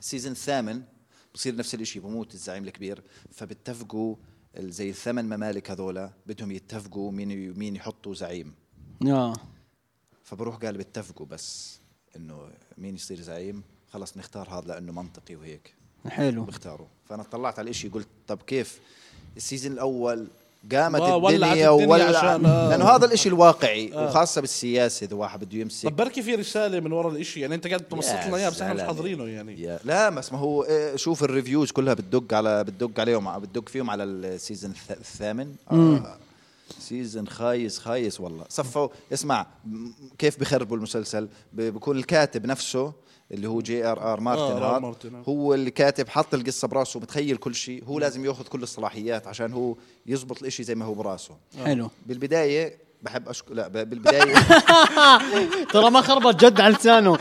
A: السيزون الثامن بصير نفس الشيء بموت الزعيم الكبير فبتفقوا ال- زي الثمان ممالك هذولا بدهم يتفقوا مين ي- مين يحطوا زعيم
C: آه.
A: فبروح قال بتفقوا بس انه مين يصير زعيم خلص نختار هذا لانه منطقي وهيك
C: حلو
A: بختاره فانا طلعت على الاشي قلت طب كيف السيزون الاول قامت
D: آه، ولعت
A: الدنيا
D: الدنيا
A: وولع
D: عشان- آه.
A: لانه هذا الاشي الواقعي وخاصه بالسياسه اذا واحد بده يمسك
D: طب بركي في رساله من ورا الاشي يعني انت قاعد تمسط
A: يا
D: لنا اياها بس احنا مش
A: زلمة.
D: حاضرينه يعني
A: يا لا بس ما هو إيه، شوف الريفيوز كلها بتدق على بتدق عليهم بتدق فيهم على السيزون الث- الثامن آه سيزون خايس خايس والله صفوا اسمع م- كيف بخربوا المسلسل ب- بكون الكاتب نفسه اللي هو جي ار ار مارتن
D: آه، آر
A: هاد،
D: مارتن، آه.
A: هو اللي كاتب حط القصه براسه متخيل كل شيء هو لازم ياخذ كل الصلاحيات عشان هو يزبط الاشي زي ما هو براسه
C: حلو
A: بالبدايه بحب اشكر لا ب- بالبدايه *laughs*
C: ترى ما خربط جد على لسانه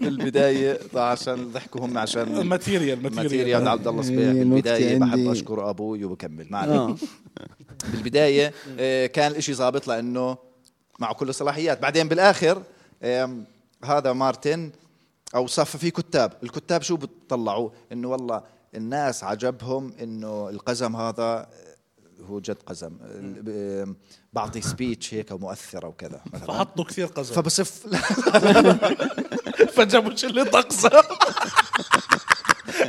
A: بالبدايه طبعاً عشان ضحكوا هم
D: *laughs*
A: عشان
D: *laughs* الماتيريال
A: ماتيريال
D: ماتيريال آه.
A: عبد الله صبيح
C: هي نكتة
A: بالبدايه بحب
C: إيه، عندي.
A: اشكر ابوي وبكمل ما عليك. *laughs*
C: آه.
A: بالبدايه آه، كان الاشي ظابط لانه معه كل الصلاحيات بعدين بالاخر آم، هذا مارتن او صف في كتاب الكتاب شو بتطلعوا انه والله الناس عجبهم انه القزم هذا آه، هو جد قزم آه، ب- آم، بعطي سبيتش هيك ومؤثره وكذا
C: *laughs*
A: مثلا
D: فحطوا كثير قزم
A: فبصف
D: *laughs* فجابوا شله اقزم *laughs*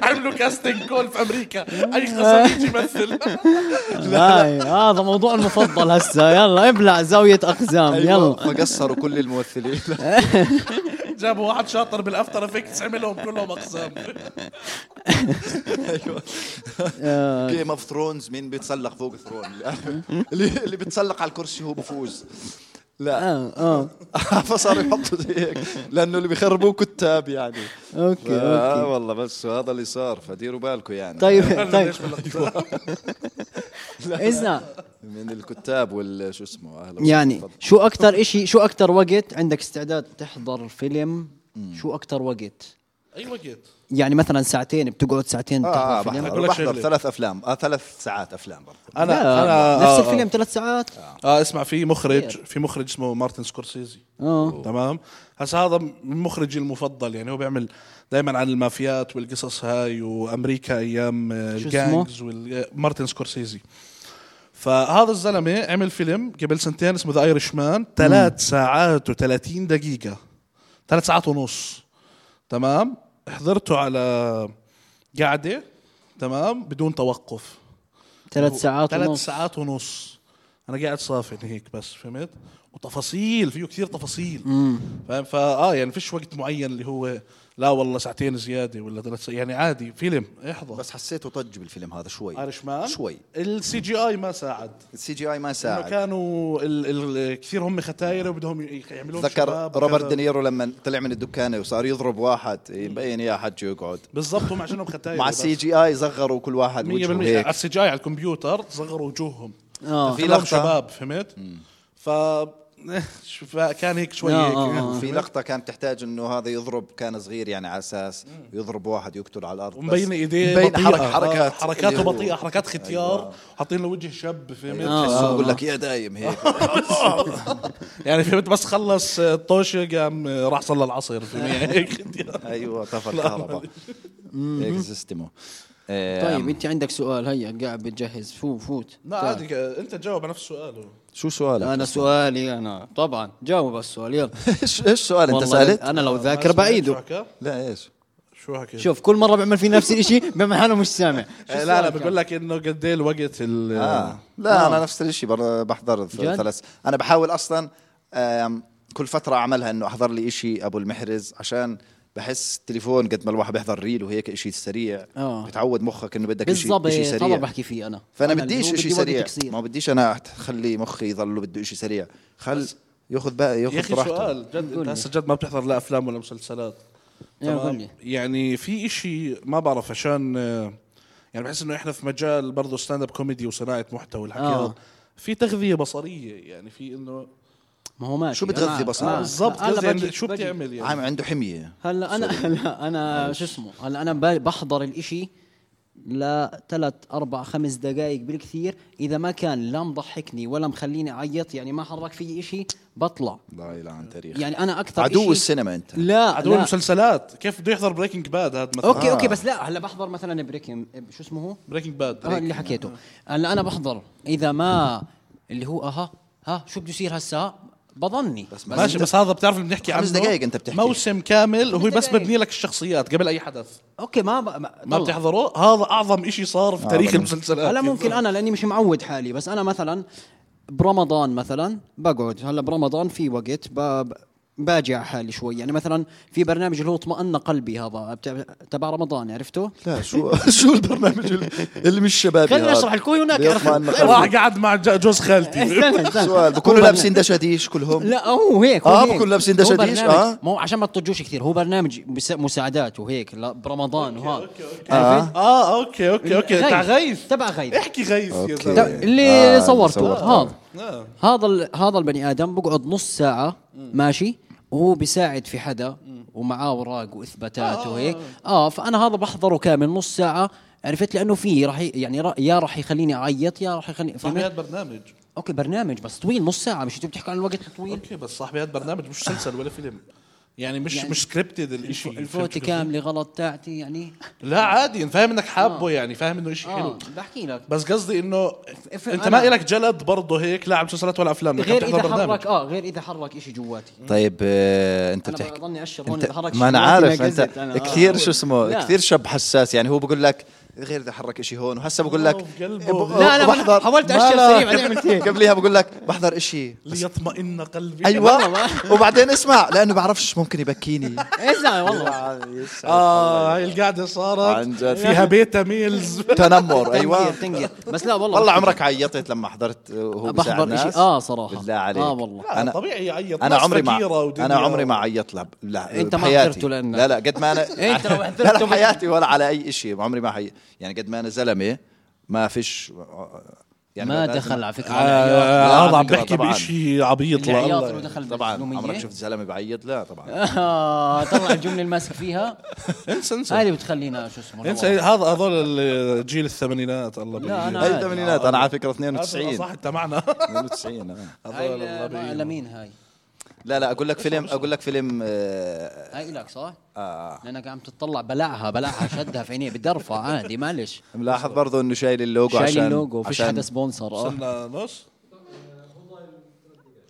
D: عملوا كاستنج كول في امريكا اي قزم يجي يمثل *laughs*
C: هاي هذا موضوع المفضل هسه يلا ابلع زاوية أقزام
A: أيوة،
C: يلا
A: *laughs* فقصروا كل
C: *laughs*
A: الممثلين
D: جابوا واحد شاطر بالافتر افكتس عملهم
A: *laughs*
D: كلهم اقزام
A: جيم اوف ثرونز مين بيتسلق فوق ثرون *laughs* اللي اللي بيتسلق على الكرسي هو بفوز لا *laughs*
C: آه آه
A: فصار يحطوا زي هيك لانه اللي بيخربوه كتاب يعني
C: أوكي
A: آه
C: أوكي
A: والله بس هذا اللي صار فديروا بالكم يعني *laughs*
C: طيب طيب اسمع
A: من الكتاب وال شو اسمه اهلا وسهلا.
C: يعني
A: تفضل.
C: شو أكثر إشي شو أكثر وقت عندك استعداد تحضر فيلم شو أكثر وقت
D: اي وقت
C: يعني مثلا ساعتين بتقعد ساعتين
A: اه
C: بتحضر
A: آه،
C: فيلم
A: بحضر
D: لك
A: بحضر
D: شغلة.
A: ثلاث افلام آه ثلاث ساعات افلام برضه
D: انا انا
C: نفس
D: آه،
C: الفيلم ثلاث ساعات
A: آه.
D: اه اسمع في مخرج في مخرج اسمه مارتن سكورسيزي
C: اه
D: تمام هسا هذا مخرجي المفضل يعني هو بيعمل دائما عن المافيات والقصص هاي وامريكا ايام آه،
C: شو
D: الجانجز وال- آه، مارتن سكورسيزي فهذا الزلمه عمل فيلم قبل سنتين اسمه ذا ايرش مان ثلاث ساعات و30 دقيقه ثلاث ساعات ونص تمام حضرته على قعده تمام بدون توقف
C: ثلاث ساعات
D: ثلاث
C: ونص
D: ساعات ونص انا قاعد صافن هيك بس فهمت وتفاصيل فيه كثير تفاصيل فاهم فاه يعني فيش وقت معين اللي هو لا والله ساعتين زياده ولا ثلاث ساعات يعني عادي فيلم احضر
A: بس حسيته طج بالفيلم هذا شوي
D: عارف مان
A: شوي
D: السي جي اي ما ساعد
A: السي جي اي ما
D: انه
A: ساعد
D: كانوا ال ال كثير هم ختايره وبدهم ي- يعملوهم
A: ذكر
D: شباب
A: روبرت
D: وكذا.
A: دينيرو لما طلع من الدكانه وصار يضرب واحد مبين يا حج يقعد
D: بالضبط هم عشانهم ختايره
A: مع
D: بس.
A: السي جي اي صغروا كل واحد
D: 100%
A: وجهه
D: على
A: هيك
D: السي جي اي على الكمبيوتر صغروا وجوههم
C: آه.
A: في
D: في لهم
A: لقطة.
D: شباب فهمت ف *laughs* كان هيك شوي
C: آه،
D: هيك
C: آه، آه.
A: في لقطة كانت تحتاج انه هذا يضرب كان صغير يعني على اساس يضرب واحد يقتل على الارض بس
D: ومبين ايديه
A: مبين
D: بطيئة.
A: حرك
D: آه،
A: حركات أيوه.
D: حركاته
A: اللي هو-
D: بطيئه حركات ختيار حاطين له وجه شاب فهمت
A: تحسه
D: آه،
A: بقول لك يا دايم
D: *laughs*
A: هيك
D: يعني فهمت بس خلص آه، طوشه قام آه، راح صلى العصر فهمت يعني هيك *laughs* ختيار.
A: ايوه طفى
D: *laughs*
A: الكهرباء إيه، آه، هيك سيستمه
C: طيب انت عندك سؤال هيا قاعد بتجهز فو فوت طيب.
D: لا عادي آه، انت جاوب على نفس سؤاله
A: شو سؤالك؟
C: انا
A: *laughs*
C: سؤالي انا طبعا جاوب على السؤال يلا
A: ايش ايش السؤال انت
C: والله
A: سالت؟
C: انا لو ذاكر بعيده
D: شو حكى؟
A: لا ايش؟
D: شو حكى؟
C: شوف كل مره بعمل فيه نفس الشيء *laughs* بعمل حاله مش سامع
D: آه، لا انا بقول لك انه قد ايه الوقت ال
A: آه. لا انا نفس الشيء بر- بحضر
C: يعني. جد؟
A: ثلاث انا بحاول اصلا آم، كل فتره اعملها انه احضر لي إشي ابو المحرز عشان بحس التليفون قد ما الواحد بيحضر ريل وهيك إشي سريع
C: آه.
A: بتعود مخك انه بدك إشي,
C: بالضبط
A: إشي
C: طبعا
A: سريع
C: بحكي فيه انا
A: فانا
C: اللي
A: بديش
C: هو
A: إشي
C: بدي وقت
A: سريع
C: قصير.
A: ما بديش انا اخلي مخي يضله بده إشي سريع خل ياخذ بقى
D: يا
A: ياخذ
D: اخي
A: راحته
D: سؤال جد
C: قول
D: انت
C: لي.
D: هسه جد ما بتحضر لا افلام ولا مسلسلات
C: يا
D: تمام؟
C: قول لي.
D: يعني في إشي ما بعرف عشان آه، يعني بحس انه احنا في مجال برضه ستاند اب كوميدي وصناعه محتوى والحكي
C: آه.
D: هذا في تغذيه بصريه يعني في انه
C: ما هو ماشي
A: شو بتغذي
C: معك،
A: بصرك؟
C: معك.
D: بالضبط
C: هلا
D: غذية،
C: آه. بجي-
D: شو
C: بجي.
D: بتعمل يعني
A: عم عنده حميه
C: هلا انا هلا انا شو اسمه هلا انا ب- بحضر الاشي لثلاث اربع خمس دقائق بالكثير اذا ما كان لا مضحكني ولا مخليني اعيط يعني ما حرك في اشي بطلع
A: لا اله عن تاريخ
C: يعني انا اكثر
A: عدو
C: إشي-
A: السينما انت
C: لا
D: عدو
C: آه، لا
D: المسلسلات كيف بده يحضر بريكنج باد هذا مثلا
C: اوكي
A: آه.
C: اوكي بس لا هلا بحضر مثلا بريكم شو اسمه هو؟
D: بريكنج باد
C: آه اللي حكيته هلا انا بحضر اذا ما اللي هو اها ها شو بده يصير هسا بظني
A: بس ما
D: ماشي بس هذا بتعرف اللي بنحكي عنه
A: خمس دقايق أنت بتحكي.
D: موسم كامل وهو بس
C: دقايق.
D: مبني لك الشخصيات قبل اي حدث
C: اوكي ما ب... ما,
D: ما
C: طلع.
D: بتحضره هذا اعظم إشي صار في تاريخ
A: بلا-
D: المسلسلات
C: آه، هلا ممكن انا لاني مش معود حالي بس انا مثلا برمضان مثلا بقعد هلا برمضان في وقت ب... ب- باجي على حالي شوي يعني مثلا في برنامج اللي هو اطمأن قلبي هذا بتاع- تبع رمضان عرفته؟
A: لا شو *laughs* شو البرنامج اللي- اللي مش شبابي
C: خليني
A: هذا؟
C: أشرح لك، هو هناك
A: بيطمع
C: عرفت.
A: إنه
C: طيب،
A: قلبي.
D: راح قاعد مع ج- جوز
C: *laughs*
D: خالتي
C: استنى استنى
A: سؤال بكونوا لابسين دشاديش كلهم
C: لا هو هيك هو
A: آه،
C: هيك.
A: بكون لابسين
C: هو
A: دشاديش،
C: برنامج-
A: آه.
C: ما هو عشان ما تطجوش كثير هو برنامج بس- مساعدات وهيك لا، برمضان وهذا
A: آه.
D: اه اوكي اوكي اوكي تاع غيث
C: تبع غيث
D: احكي غيث يا
A: أوكي.
C: ده
D: زلمه
A: إيه.
C: اللي
A: آه، اللي
C: صورته
A: صورته.
C: هذا
D: آه.
C: هذا ال- هذا البني ادم بقعد نص ساعه ماشي وهو بيساعد في حدا ومعاه اوراق
A: آه.
C: واثباتات وهيك اه فانا هذا بحضره كامل نص ساعه عرفت لانه في راح ي- يعني را- يا راح يخليني اعيط يا راح يخليني
D: صاحبيات
C: فهمت؟
D: برنامج
C: اوكي برنامج بس طويل نص ساعه مش انتوا بتحكوا عن الوقت الطويل
D: اوكي بس صاحبيات برنامج مش مسلسل ولا فيلم يعني مش
C: يعني
D: مش سكريبتد الاشي فهمت
C: الفوتة
D: شو
C: كامله غلط تاعتي يعني
D: قصدي؟ لا عادي أنت فاهم انك
C: آه.
D: حابه يعني فاهم انه اشي حلو
C: اه بحكي لك
D: بس قصدي انه
C: افهم
D: انت ما
C: أنا.
D: إلك جلد برضه هيك لا على مسلسلات ولا افلام لكن
C: غير
D: بتحضر
C: اذا
D: برنامج.
C: حرك اه غير اذا حرك شيء جواتي
A: طيب آه، انت
C: أنا
A: بتحكي
C: بضلني أشر هون إذا
A: انت
C: حرك
A: ما انا
C: شمالي
A: عارف
C: بقزت
A: انت
C: أنا. آه.
A: كثير شو اسمه
C: لا.
A: كثير شاب حساس يعني هو بقول لك غير اذا حرك شيء هون وهسه بقول لك
D: في قلبه.
A: ب-
C: لا، لا، ما أنا
A: بحضر-
C: حاولت
A: ما
C: أشير
A: لا.
C: سريع، بعدين إيه. عملت هيك.
A: قبليها بقول لك بحضر اشي
D: ليطمئن قلبي
C: أيوة.
A: ايوه وبعدين اسمع لانه بعرفش ممكن يبكيني
C: اسمع والله
A: *laughs*
D: اه هاي القعده
A: عن
D: صارت
A: جد.
D: فيها بيتا ميلز
C: *laughs*
A: تنمر
C: ايوه
A: ايوه
C: تنقر بس لا والله
A: والله
C: بحكي
A: عمرك عيطت لما حضرت وهو بيساعد
C: بحضر
A: ناس؟
C: إشي- آه، صراحة.
A: بالله عليك
C: آه، والله.
A: انا
D: طبيعي يعيط
A: انا
D: ناس
A: عمري ما
D: فقيرة ودنيا
A: انا عمري ما عيطت لا لا
C: أنت ما إيه،
A: بحياتي.
C: حضرته لأنك-
A: لا لا قد ما
C: *laughs*
A: انا
C: أنت لو حضرته
A: لا لا
C: بت-
A: حياتي ولا على اي شيء عمري ما حي... يعني قد ما انا زلمه ما فيش يعني
C: ما
A: لازم-
C: دخل على فكره على
A: لا،
D: آه، هذا
A: على
D: عم
A: فكرة
D: بحكي
A: طبعاً.
D: بشيء عبيط
C: اللي عياط
D: لله
C: لو دخل
A: طبعا
C: بالمية.
A: عمرك شفت زلمه بعيط لا طبعا
C: *laughs* آه، طلع الجمله اللي ماسك فيها
D: *laughs* انسى انسى
C: هذه بتخلينا شو اسمه
D: انسى هذا هذول الجيل الثمانينات الله
C: لا، أنا-
A: هاي
C: عادي.
A: الثمانينات انا على فكره
D: صح
A: 92
D: انت
A: *laughs*
D: معنا
A: 92 آه.
D: هذول الله
C: هاي
D: بيعينهم.
C: لمين هاي؟
A: لا لا اقول لك فيلم اقول لك فيلم آه،
C: هاي لك صح؟
A: آه.
C: لانك عم تطلع بلعها بلعها شدها في عينيه بدي ارفع عادي معلش
A: ملاحظ برضه انه شايل اللوجو
C: شايل
A: عشان
C: اللوجو فيش
A: عشان-
C: حدا سبونسر اه
D: وصلنا نص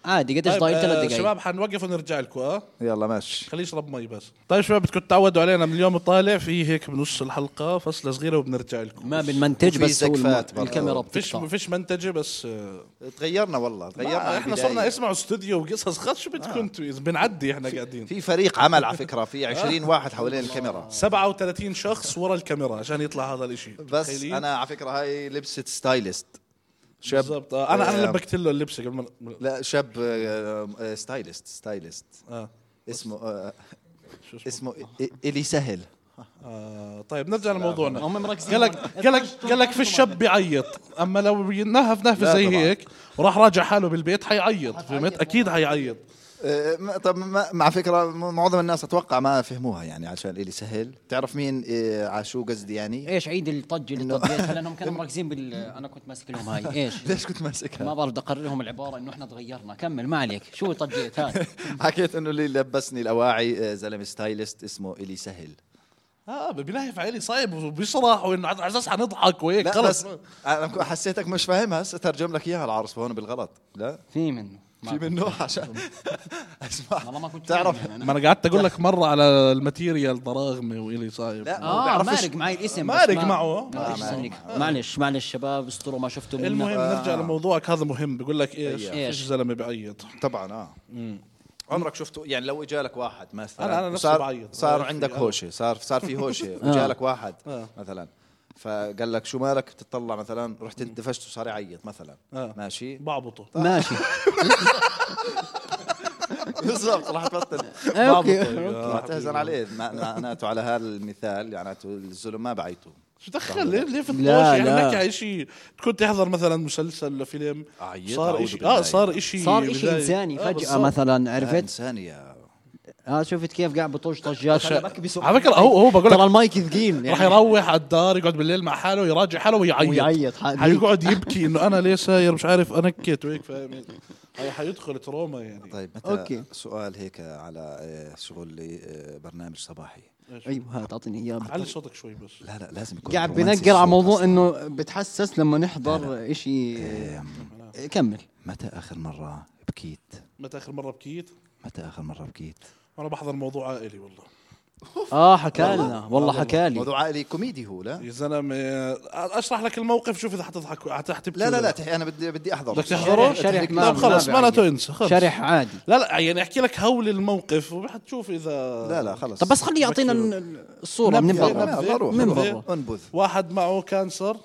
C: عادي قديش
D: طيب،
C: ضايل
D: آه،
C: ثلاث دقائق
D: شباب حنوقف ونرجع لكم اه
A: يلا ماشي
D: خليه يشرب مي بس طيب شباب بدكم تتعودوا علينا من اليوم الطالع في هيك بنص الحلقه فصله صغيره وبنرجع لكم
C: ما بنمنتج
A: وفي
C: بس هو الم-
A: زقفات برضه.
C: الكاميرا
D: فيش
C: بتقطع
D: فيش منتجه بس آه،
A: تغيرنا والله تغيرنا
D: ما احنا
A: بالبداية.
D: صرنا اسمعوا استوديو وقصص خد شو بدكم انتوا اذا بنعدي احنا قاعدين
A: آه. في فريق عمل على فكره *laughs* في 20 واحد حوالين الكاميرا
D: 37 شخص ورا الكاميرا عشان يطلع هذا الاشي
A: بس
D: متخيلين؟
A: انا على فكره هاي لبسه ستايلست شاب
D: بالضبط آه، انا انا
A: آه.
D: لبكت له اللبسه قبل ما
A: لا شاب آه، آه، ستايلست ستايلست
D: آه.
A: اسمه آه،
D: شو اسمه؟
A: اسمه إ- الي سهل
D: آه طيب نرجع لموضوعنا
C: هم مركزين.
D: قال لك قال لك قال لك في الشاب بيعيط اما لو ينهف نهف
A: لا
D: زي
A: طبعاً.
D: هيك وراح راجع حاله بالبيت حيعيط فهمت اكيد حيعيط
A: آه، ما- طب ما- مع فكره م- معظم الناس اتوقع ما فهموها يعني عشان الي سهل تعرف مين آه، على شو قصدي يعني
C: ايش عيد الطج اللي
A: إنه-
C: طجيتها لانهم كانوا مركزين بال انا كنت ماسك لهم هاي ايش
A: *laughs*
D: *laughs*
A: ليش كنت ماسكها
C: ما بعرف بدي اقرر لهم العباره انه احنا تغيرنا كمل ما عليك شو طجيت هاي
A: حكيت انه اللي لبسني الاواعي آه، زلمه ستايلست اسمه الي سهل
D: اه بنهف علي صايب وبيصرخ وانه على اساس حنضحك وهيك
A: لا
D: خلص
A: بس انا ك- حسيتك مش فاهمها هسه ترجم لك اياها العرس هون بالغلط لا
C: في منه ما-
A: في منه عشان *laughs* اسمع
C: والله ما كنت
A: تعرف
C: فاهم يعني
D: ما انا قعدت اقول لك مره على الماتيريال ضراغمي والي صايب
A: لا ما
C: اه
A: بعرفش.
C: مارق معي الاسم بس
D: مارق
C: ما-
D: معه.
C: ما بديش أسألك. معلش معلش شباب استروا ما شفتوا منا.
D: المهم
A: آه.
D: نرجع لموضوعك هذا مهم بقول لك
A: طيب.
D: ايش
C: إيش؟
D: ايش زلمه بعيط
A: طبعا اه عمرك شفته يعني لو اجالك واحد مثلا
D: أنا- أنا نفسي
A: وصار-
D: بعيط.
A: صار
D: بعرف
A: عندك
D: فيه.
A: هوشه صار صار في هوشه وجالك واحد مثلا فقال لك شو مالك بتطلع مثلا رحت اندفشت وصار يعيط مثلا
D: آه. *laughs*
A: ماشي
D: بعبطه
C: *laughs* ماشي
A: بالضبط راح تبطل
C: اوكي
A: ما تهزن عليه ما- معناته على هذا المثال معناته الزلم ما بعيطوا
D: شو دخل ليه ليه في
C: لا،
D: الطوش يعني
C: لا.
D: بنحكي على شيء تكون تحضر مثلا مسلسل ولا فيلم
A: أعيط،
D: صار
A: أعوذ
D: شيء
A: بالله.
D: اه صار آه، شيء
C: صار شيء انساني فجاه مثلا عرفت
A: انسان يا
C: اه شفت كيف قاعد بطوش طجات أنا بكبس
D: على فكره هو هو بقول
C: ترى
D: لك
C: المايك ثقيل
D: راح
C: يعني.
D: يروح على الدار يقعد بالليل مع حاله ويراجع حاله ويعيط
C: ويعيط حقيقي.
D: حيقعد
A: *laughs*
D: يبكي انه انا ليه ساير مش عارف انكت وهيك فاهم هي حيدخل تروما يعني
A: طيب متى
C: أوكي.
A: أوكي. سؤال هيك على آه، شغل لي، آه، برنامج صباحي
C: ايوه هات اعطيني اياه
D: علي صوتك شوي بس
A: لا لا لازم يكون
C: قاعد
A: رومانسي
C: بنقر على
A: الصوت
C: موضوع
A: أصلاً.
C: انه بتحسس لما نحضر شيء كمل
A: متى اخر مره بكيت
D: متى اخر مره بكيت؟
A: متى اخر مره بكيت
D: وانا بحضر موضوع عائلي والله
C: اه حكى لنا والله حكى لي
A: موضوع عائلي كوميدي هو لا
D: يا زلمه اشرح لك الموقف شوف اذا حتضحك حتبكي
A: لا لا
D: ولا
A: لا تحكي انا بدي بدي احضر
D: بدك تحضره؟
C: شرح ما
D: طب خلص
C: ما بعيد.
D: معناته انسى خلص
C: شرح عادي
D: لا لا يعني احكي لك هول الموقف وحتشوف اذا
A: لا لا خلص
C: طب بس خليه يعطينا
D: بكير.
C: ال- الصوره من
A: نبذة،
C: برا
A: نبذة،
C: من
A: نبذة.
C: برا
A: انبذ
D: واحد معه كانسر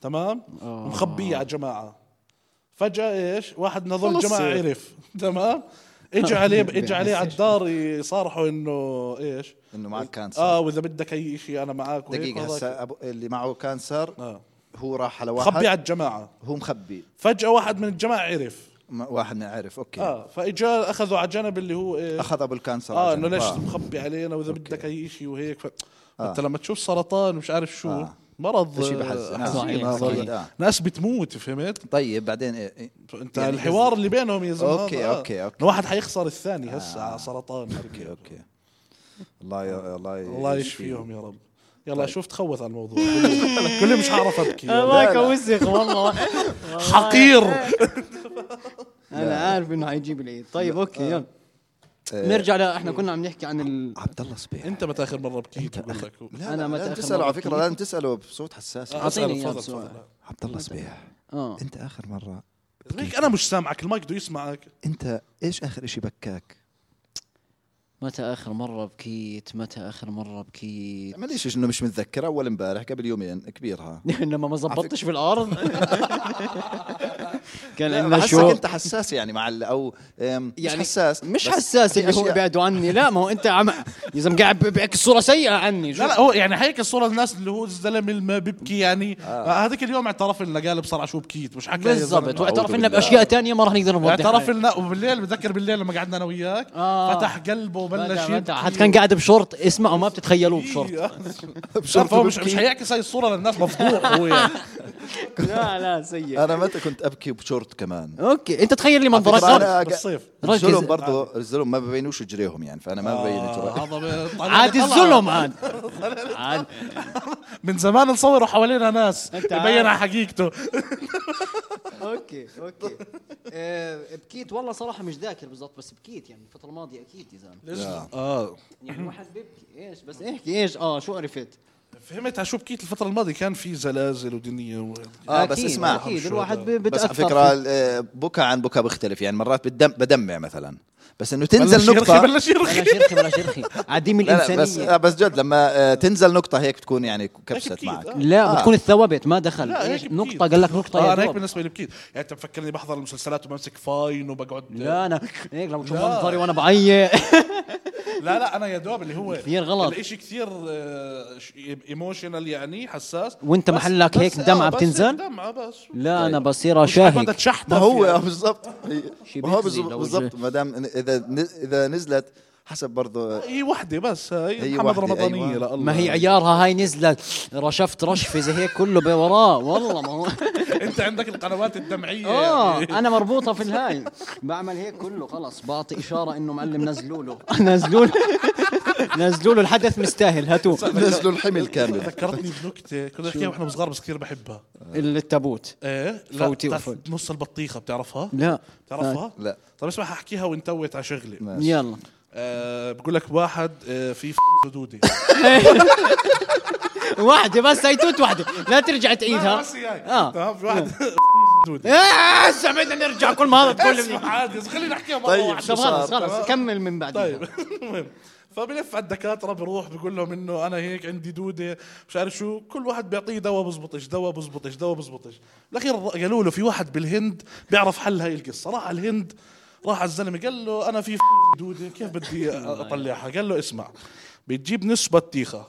D: تمام مخبيه على جماعه فجاه ايش واحد من هذول
A: خلص
D: الجماعه
A: صير.
D: عرف تمام اجى عليه اجى عليه على الدار يصارحوا انه ايش
A: انه معك كانسر
C: آه.
D: اه واذا بدك اي شيء انا معك وهيك
A: دقيقه
D: وهذاك.
A: هسه أبو- اللي معه كانسر
D: آه.
A: هو راح على واحد
D: خبي على الجماعه
A: هو مخبي
D: فجاه واحد من الجماعه عرف
A: م- واحد نعرف اوكي
C: آه.
D: اه فاجا اخذوا على جنب اللي هو ايش
A: اخذ ابو الكانسر
D: اه
A: عشان-
D: انه ليش مخبي علينا واذا بدك اي شيء وهيك ف...
A: آه.
D: انت لما تشوف سرطان ومش عارف شو
A: آه.
D: مرض
A: شيء
D: آه،
A: بحزن.
D: حزين
C: آه.
D: هذا.
A: أكيد، آه.
D: ناس بتموت فهمت
A: طيب بعدين إيه إيه.
D: انت
A: يعني
D: يعني الحوار اللي بينهم يا زلمه
A: أوكي،
D: هذا، آه.
A: أوكي، أوكي. آه.
D: إنه واحد حيخسر الثاني هسه على سرطان
A: اوكي اوكي الله ي... الله ي...
D: الله يشفيهم يا رب يلا
A: طيب.
D: شوف تخوث على الموضوع
C: *laughs*
D: كل- كل مش عارف ابكي
C: الله يكوسخ والله *laughs*
D: حقير
C: انا عارف انه حيجيب العيد طيب اوكي يلا
A: آه،
C: نرجع لا احنا كنا عم نحكي عن ال...
A: عبد الله صبيح
D: انت متى اخر مره بكيت بقول لك
A: لا
C: أنا
A: أنا
C: متى
A: لا
C: آخر
A: تسأله
C: مرة
A: على فكرة
C: بكيت؟
A: لازم تسأله بصوت حساس
D: آه،
C: أعطيني
D: اسأل،
C: إياه
D: تفضل،
C: بسرعة.
D: تفضل.
A: عبد الله صبيح
C: اه
A: أنت آخر مرة
D: ليك انا مش سامعك المايك بده يسمعك
A: أنت إيش آخر إشي بكاك؟
C: متى اخر مره بكيت متى اخر مره *laughs* بكيت
A: ما ليش يعني إنه مش متذكر أول امبارح قبل يومين كبيرها
C: لما ما زبطتش في الارض *laughs* كان عندنا
A: بحسك
C: شو
A: أنت حساس يعني مع ال- أو أم، مش
C: يعني
A: حساس
C: مش
A: بس
C: حساس
A: في
C: اللي هو
A: أشياء-
C: بعده عني لا ما هو انت عم يا زلمه قاعد بيعكس صوره سيئه عني شو
D: لا لا هو يعني هيك الصوره الناس اللي هو الزلمه اللي ما بيبكي يعني آه. هذاك اليوم اعترف لنا قال بصراحه شو بكيت مش حكى يا زلمة.
C: بالضبط واعترف
A: أعوذ
C: لنا
A: بالله.
C: باشياء تانية ما راح نقدر نوضحها
D: اعترف لنا وبالليل بتذكر بالليل لما قعدنا انا وياك
C: آه.
D: فتح قلبه وبلش
C: بدع- بدع.
D: يبكي.
C: حتى كان قاعد بشورت اسمعوا ما بتتخيلوه
D: *laughs*
C: بشورت
A: بشرط
D: فهو مش
A: ببكي.
D: مش هيعكس هاي الصوره للناس مفضوح
C: *laughs*
D: هو يعني
C: لا لا سيء
A: أنا متى كنت أبكي بشورت كمان
C: اوكي انت تخيل لي
A: طبعاً
C: منظرك
A: أنا قا-
D: بالصيف
C: ركز.
A: الزلم برضه الزلم ما ببينوش رجليهم يعني فأنا ما ببين رجلي.
D: آه، هذا
C: عادي الظلم عاد عاد
A: *laughs*
D: من زمان نصوروا حوالينا ناس
C: أنت
D: يبين على
C: عارف.
D: حقيقته
C: اوكي اوكي آه، بكيت والله صراحه مش ذاكر بالضبط بس بكيت يعني الفتره الماضيه اكيد يا زلمه
D: اه
A: *laughs*
C: يعني الواحد بيبكي ايش بس احكي ايش اه شو عرفت
D: فهمت على شو بكيت الفتره الماضيه كان في زلازل ودنيا و...
A: آه بس
C: أكيد،
A: اسمع
C: اكيد الواحد بي-
A: بس
C: بتاثر
A: على فكرة
C: فيه.
A: آه، بكى عن بكى بيختلف يعني مرات بدم بدمع مثلا بس إنه
D: بلش
A: تنزل
D: يرخي
A: نقطة
D: بلش يرخي
C: بلا شرخي بلا
A: *laughs*
C: شرخي عديم
A: لا لا بس آه
C: الانسانيه
A: بس جد لما آه، تنزل نقطة هيك بتكون يعني كبست
D: أكيد،
A: معك
D: آه.
C: لا
A: آه.
C: بتكون الثوابت ما دخل
D: لا،
C: ايش
D: هيك بكيت.
C: نقطه قال لك نقطه
D: آه
C: يا
D: انا هيك
C: دوب.
D: بالنسبه لي بكيت يعني انت مفكرني بحضر المسلسلات وبمسك فاين وبقعد
C: لا انا هيك لما تشوف
D: لا.
C: منظري وانا بعيط
D: لا لا انا يا دوب اللي هو
C: كثير غلط.
D: الاشي كثير ايموشنال يعني حساس
C: وانت
D: بس-
C: محلك
D: بس-
C: هيك
D: آه،
C: دمعة
D: بس هيك
C: بتنزل؟
D: دمعه بس
C: لا
D: طيب.
C: انا بصير
D: بدها
C: اشاهق
D: تشحطف
A: ما هو آه،
D: يعني.
A: بالضبط هي-
C: شي
A: ما هو
C: بيخزي
A: بالز-
C: لو
A: بالضبط
C: جه.
A: ما دام إن- اذا ن- اذا نزلت حسب
D: *laughs*
A: برضه
D: هي وحده بس هي
A: هي
D: محمد
A: وحدة،
D: رمضانيه
A: أيوة.
D: لا الله *laughs*
C: ما هي عيارها هاي نزلت رشفت رشفه زي هيك كله بوراه والله ما *laughs* هو
D: انت عندك القنوات الدمعيه
C: اه
D: يعني.
C: انا مربوطه في الهاي بعمل هيك كله خلص بعطي اشاره انه معلم نزلوا له *laughs* نزلوا له نزلوا له الحدث مستاهل هاتوه
A: نزلوا الحمل كامل
D: ذكرتني بنكته كنت احكيها واحنا صغار بس كثير بحبها
C: التابوت
D: ايه لا
C: فوتي
D: بتعرف
C: وفوت.
D: نص البطيخه بتعرفها؟ طيب،
C: لا
D: بتعرفها؟
A: لا.
D: طب اسمع ححكيها وانتوت على شغله
A: ماشي.
C: يلا
D: آه بقول لك واحد آه في ف-
C: *laughs*
D: دودي
C: واحده بس هي توت واحده لا ترجع تعيدها
D: بس هي هاي.
C: آه.
D: تمام في *laughs* واحد دودي
C: آه، هسه بدنا نرجع كل ما هذا تقول لي
D: اسمع عادي بس خلينا نحكيها مره
A: طيب،
D: واحده
C: طب خلص
A: صار.
C: خلص كمل من بعدين
D: طيب *laughs* المهم فبلف على الدكاتره بروح بقول لهم انه انا هيك عندي دوده مش عارف شو كل واحد بيعطيه دواء بزبطش دواء بزبطش دواء بزبطش بالاخير قالوا له في واحد بالهند بيعرف حل هاي القصه راح على الهند راح على الزلمه قال له انا في *laughs* دوده كيف بدي اطلعها قال له اسمع بتجيب نص بطيخه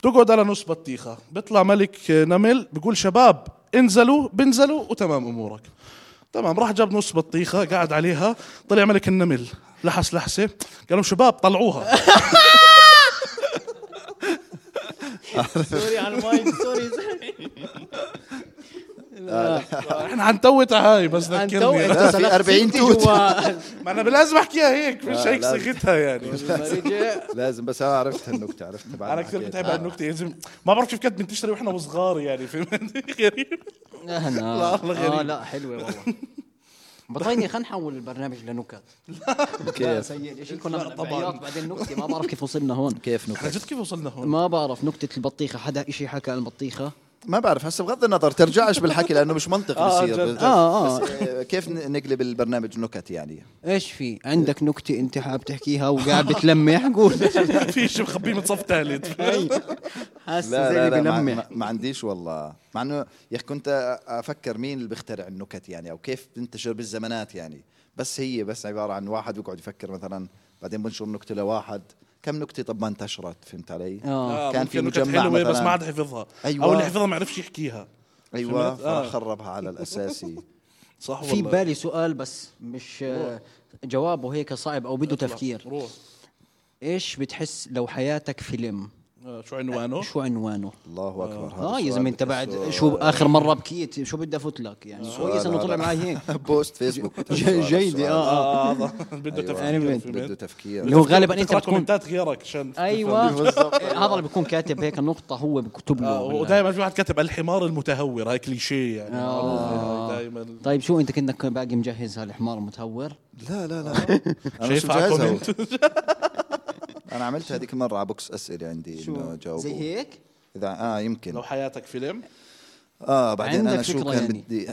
D: بتقعد على نص بطيخه بيطلع ملك نمل بيقول شباب انزلوا بنزلوا وتمام امورك تمام راح جاب نص بطيخه قاعد عليها طلع ملك النمل لحس لحسه قال لهم شباب
A: *laughs*
D: طلعوها
C: سوري على المايك سوري
D: احنا حنتوتها هاي بس ذكرني
A: لا، *laughs* في 40 توت. *laughs*
D: ما انا لازم احكيها هيك مش هيك
A: لازم.
D: صيغتها يعني
A: لازم بس انا عرفت النكتة عرفت بعد
D: انا
A: ما
D: كثير
A: حكيت.
D: بتعب على النكته يا زلمة. ما بعرف كيف كانت بنتشري واحنا *laughs* وصغار يعني في غريب
C: لا *laughs* آه،
D: لا، والله غريب.
C: لا حلوه والله بطيني خلينا نحول البرنامج لنكت *laughs* لا
A: كيف
C: سيء الشيء كنا
D: لا، طبعاً.
C: طبعا بعدين نكته ما بعرف كيف وصلنا هون
A: كيف
D: احنا
A: نكت
D: جد كيف وصلنا
A: *laughs*
D: هون؟
C: ما بعرف نكته البطيخه حدا شيء حكى عن البطيخه
A: ما بعرف هسه بغض النظر ترجعش بالحكي لانه مش منطقي
D: آه،
A: بصير
D: جد.
A: بس-
C: آه، آه.
A: بس، آه، كيف ن- نقلب البرنامج نكت يعني
C: ايش في عندك نكته انت حابب تحكيها وقاعد بتلمح قول
D: في شيء مخبيه من صف ثالث
C: حاسس
A: لا
C: زي
A: لا
C: اللي
A: لا ما,
C: بلمح
A: ما, ما عنديش والله مع انه يا اخي كنت افكر مين اللي بيخترع النكت يعني او كيف بتنتشر بالزمانات يعني بس هي بس عباره عن واحد بيقعد يفكر مثلا بعدين بنشر نكته لواحد كم نكته طب ما انتشرت فهمت علي؟
C: آه.
A: كان في
D: ممكن نكت
A: مجمع
D: حلوة بس
A: مثلاً.
D: ما حد حفظها
A: أيوة.
D: او اللي حفظها ما عرفش يحكيها
A: ايوه
D: فهمت؟ آه.
A: فراح خربها على الاساسي
D: صح
C: في
D: والله
C: بالي سؤال بس مش آه، جوابه هيك صعب او بده تفكير
D: روح
C: ايش بتحس لو حياتك فيلم
D: آه،
A: *laughs*
D: شو عنوانه؟
C: شو عنوانه
A: الله اكبر هذا
C: اه يا
A: السؤال
C: زلمه انت بعد
A: بتحسه
C: شو اخر مره بكيت شو بدي افوت لك يعني
A: سؤال
C: كويس انه
A: هذا.
C: طلع معي هيك
A: *laughs* بوست فيسبوك
C: جي-
A: السؤال-
C: جيدة
A: السؤال.
C: اه آه.
D: اه هذا *laughs* بده
A: أيوة.
D: تفكير في
A: بده
D: بيت.
C: اللي
A: تفكير
C: هو غالبا انت
D: تقرأ
C: بتكون
D: كومنتات غيرك عشان
C: ايوه
A: *laughs* بالضبط. آه،
C: هذا اللي بيكون كاتب هيك نقطه هو بكتب له بالله.
D: ودائما آه، في واحد كاتب الحمار المتهور هاي كليشيه يعني
C: آه.
D: دائما
C: طيب شو انت كأنك باقي مجهز هالحمار المتهور
A: لا لا لا انا مش
D: شايفها على
A: مجهزها
D: كومنت. *laughs*
A: انا عملت هذيك المره على بوكس اسئله عندي انه جاوبوا
C: زي هيك
A: اذا اه يمكن
D: لو حياتك
C: *laughs*
D: فيلم
A: اه بعدين
C: عندك
A: انا شو
C: فكرة
A: كان
C: يعني؟
A: بدي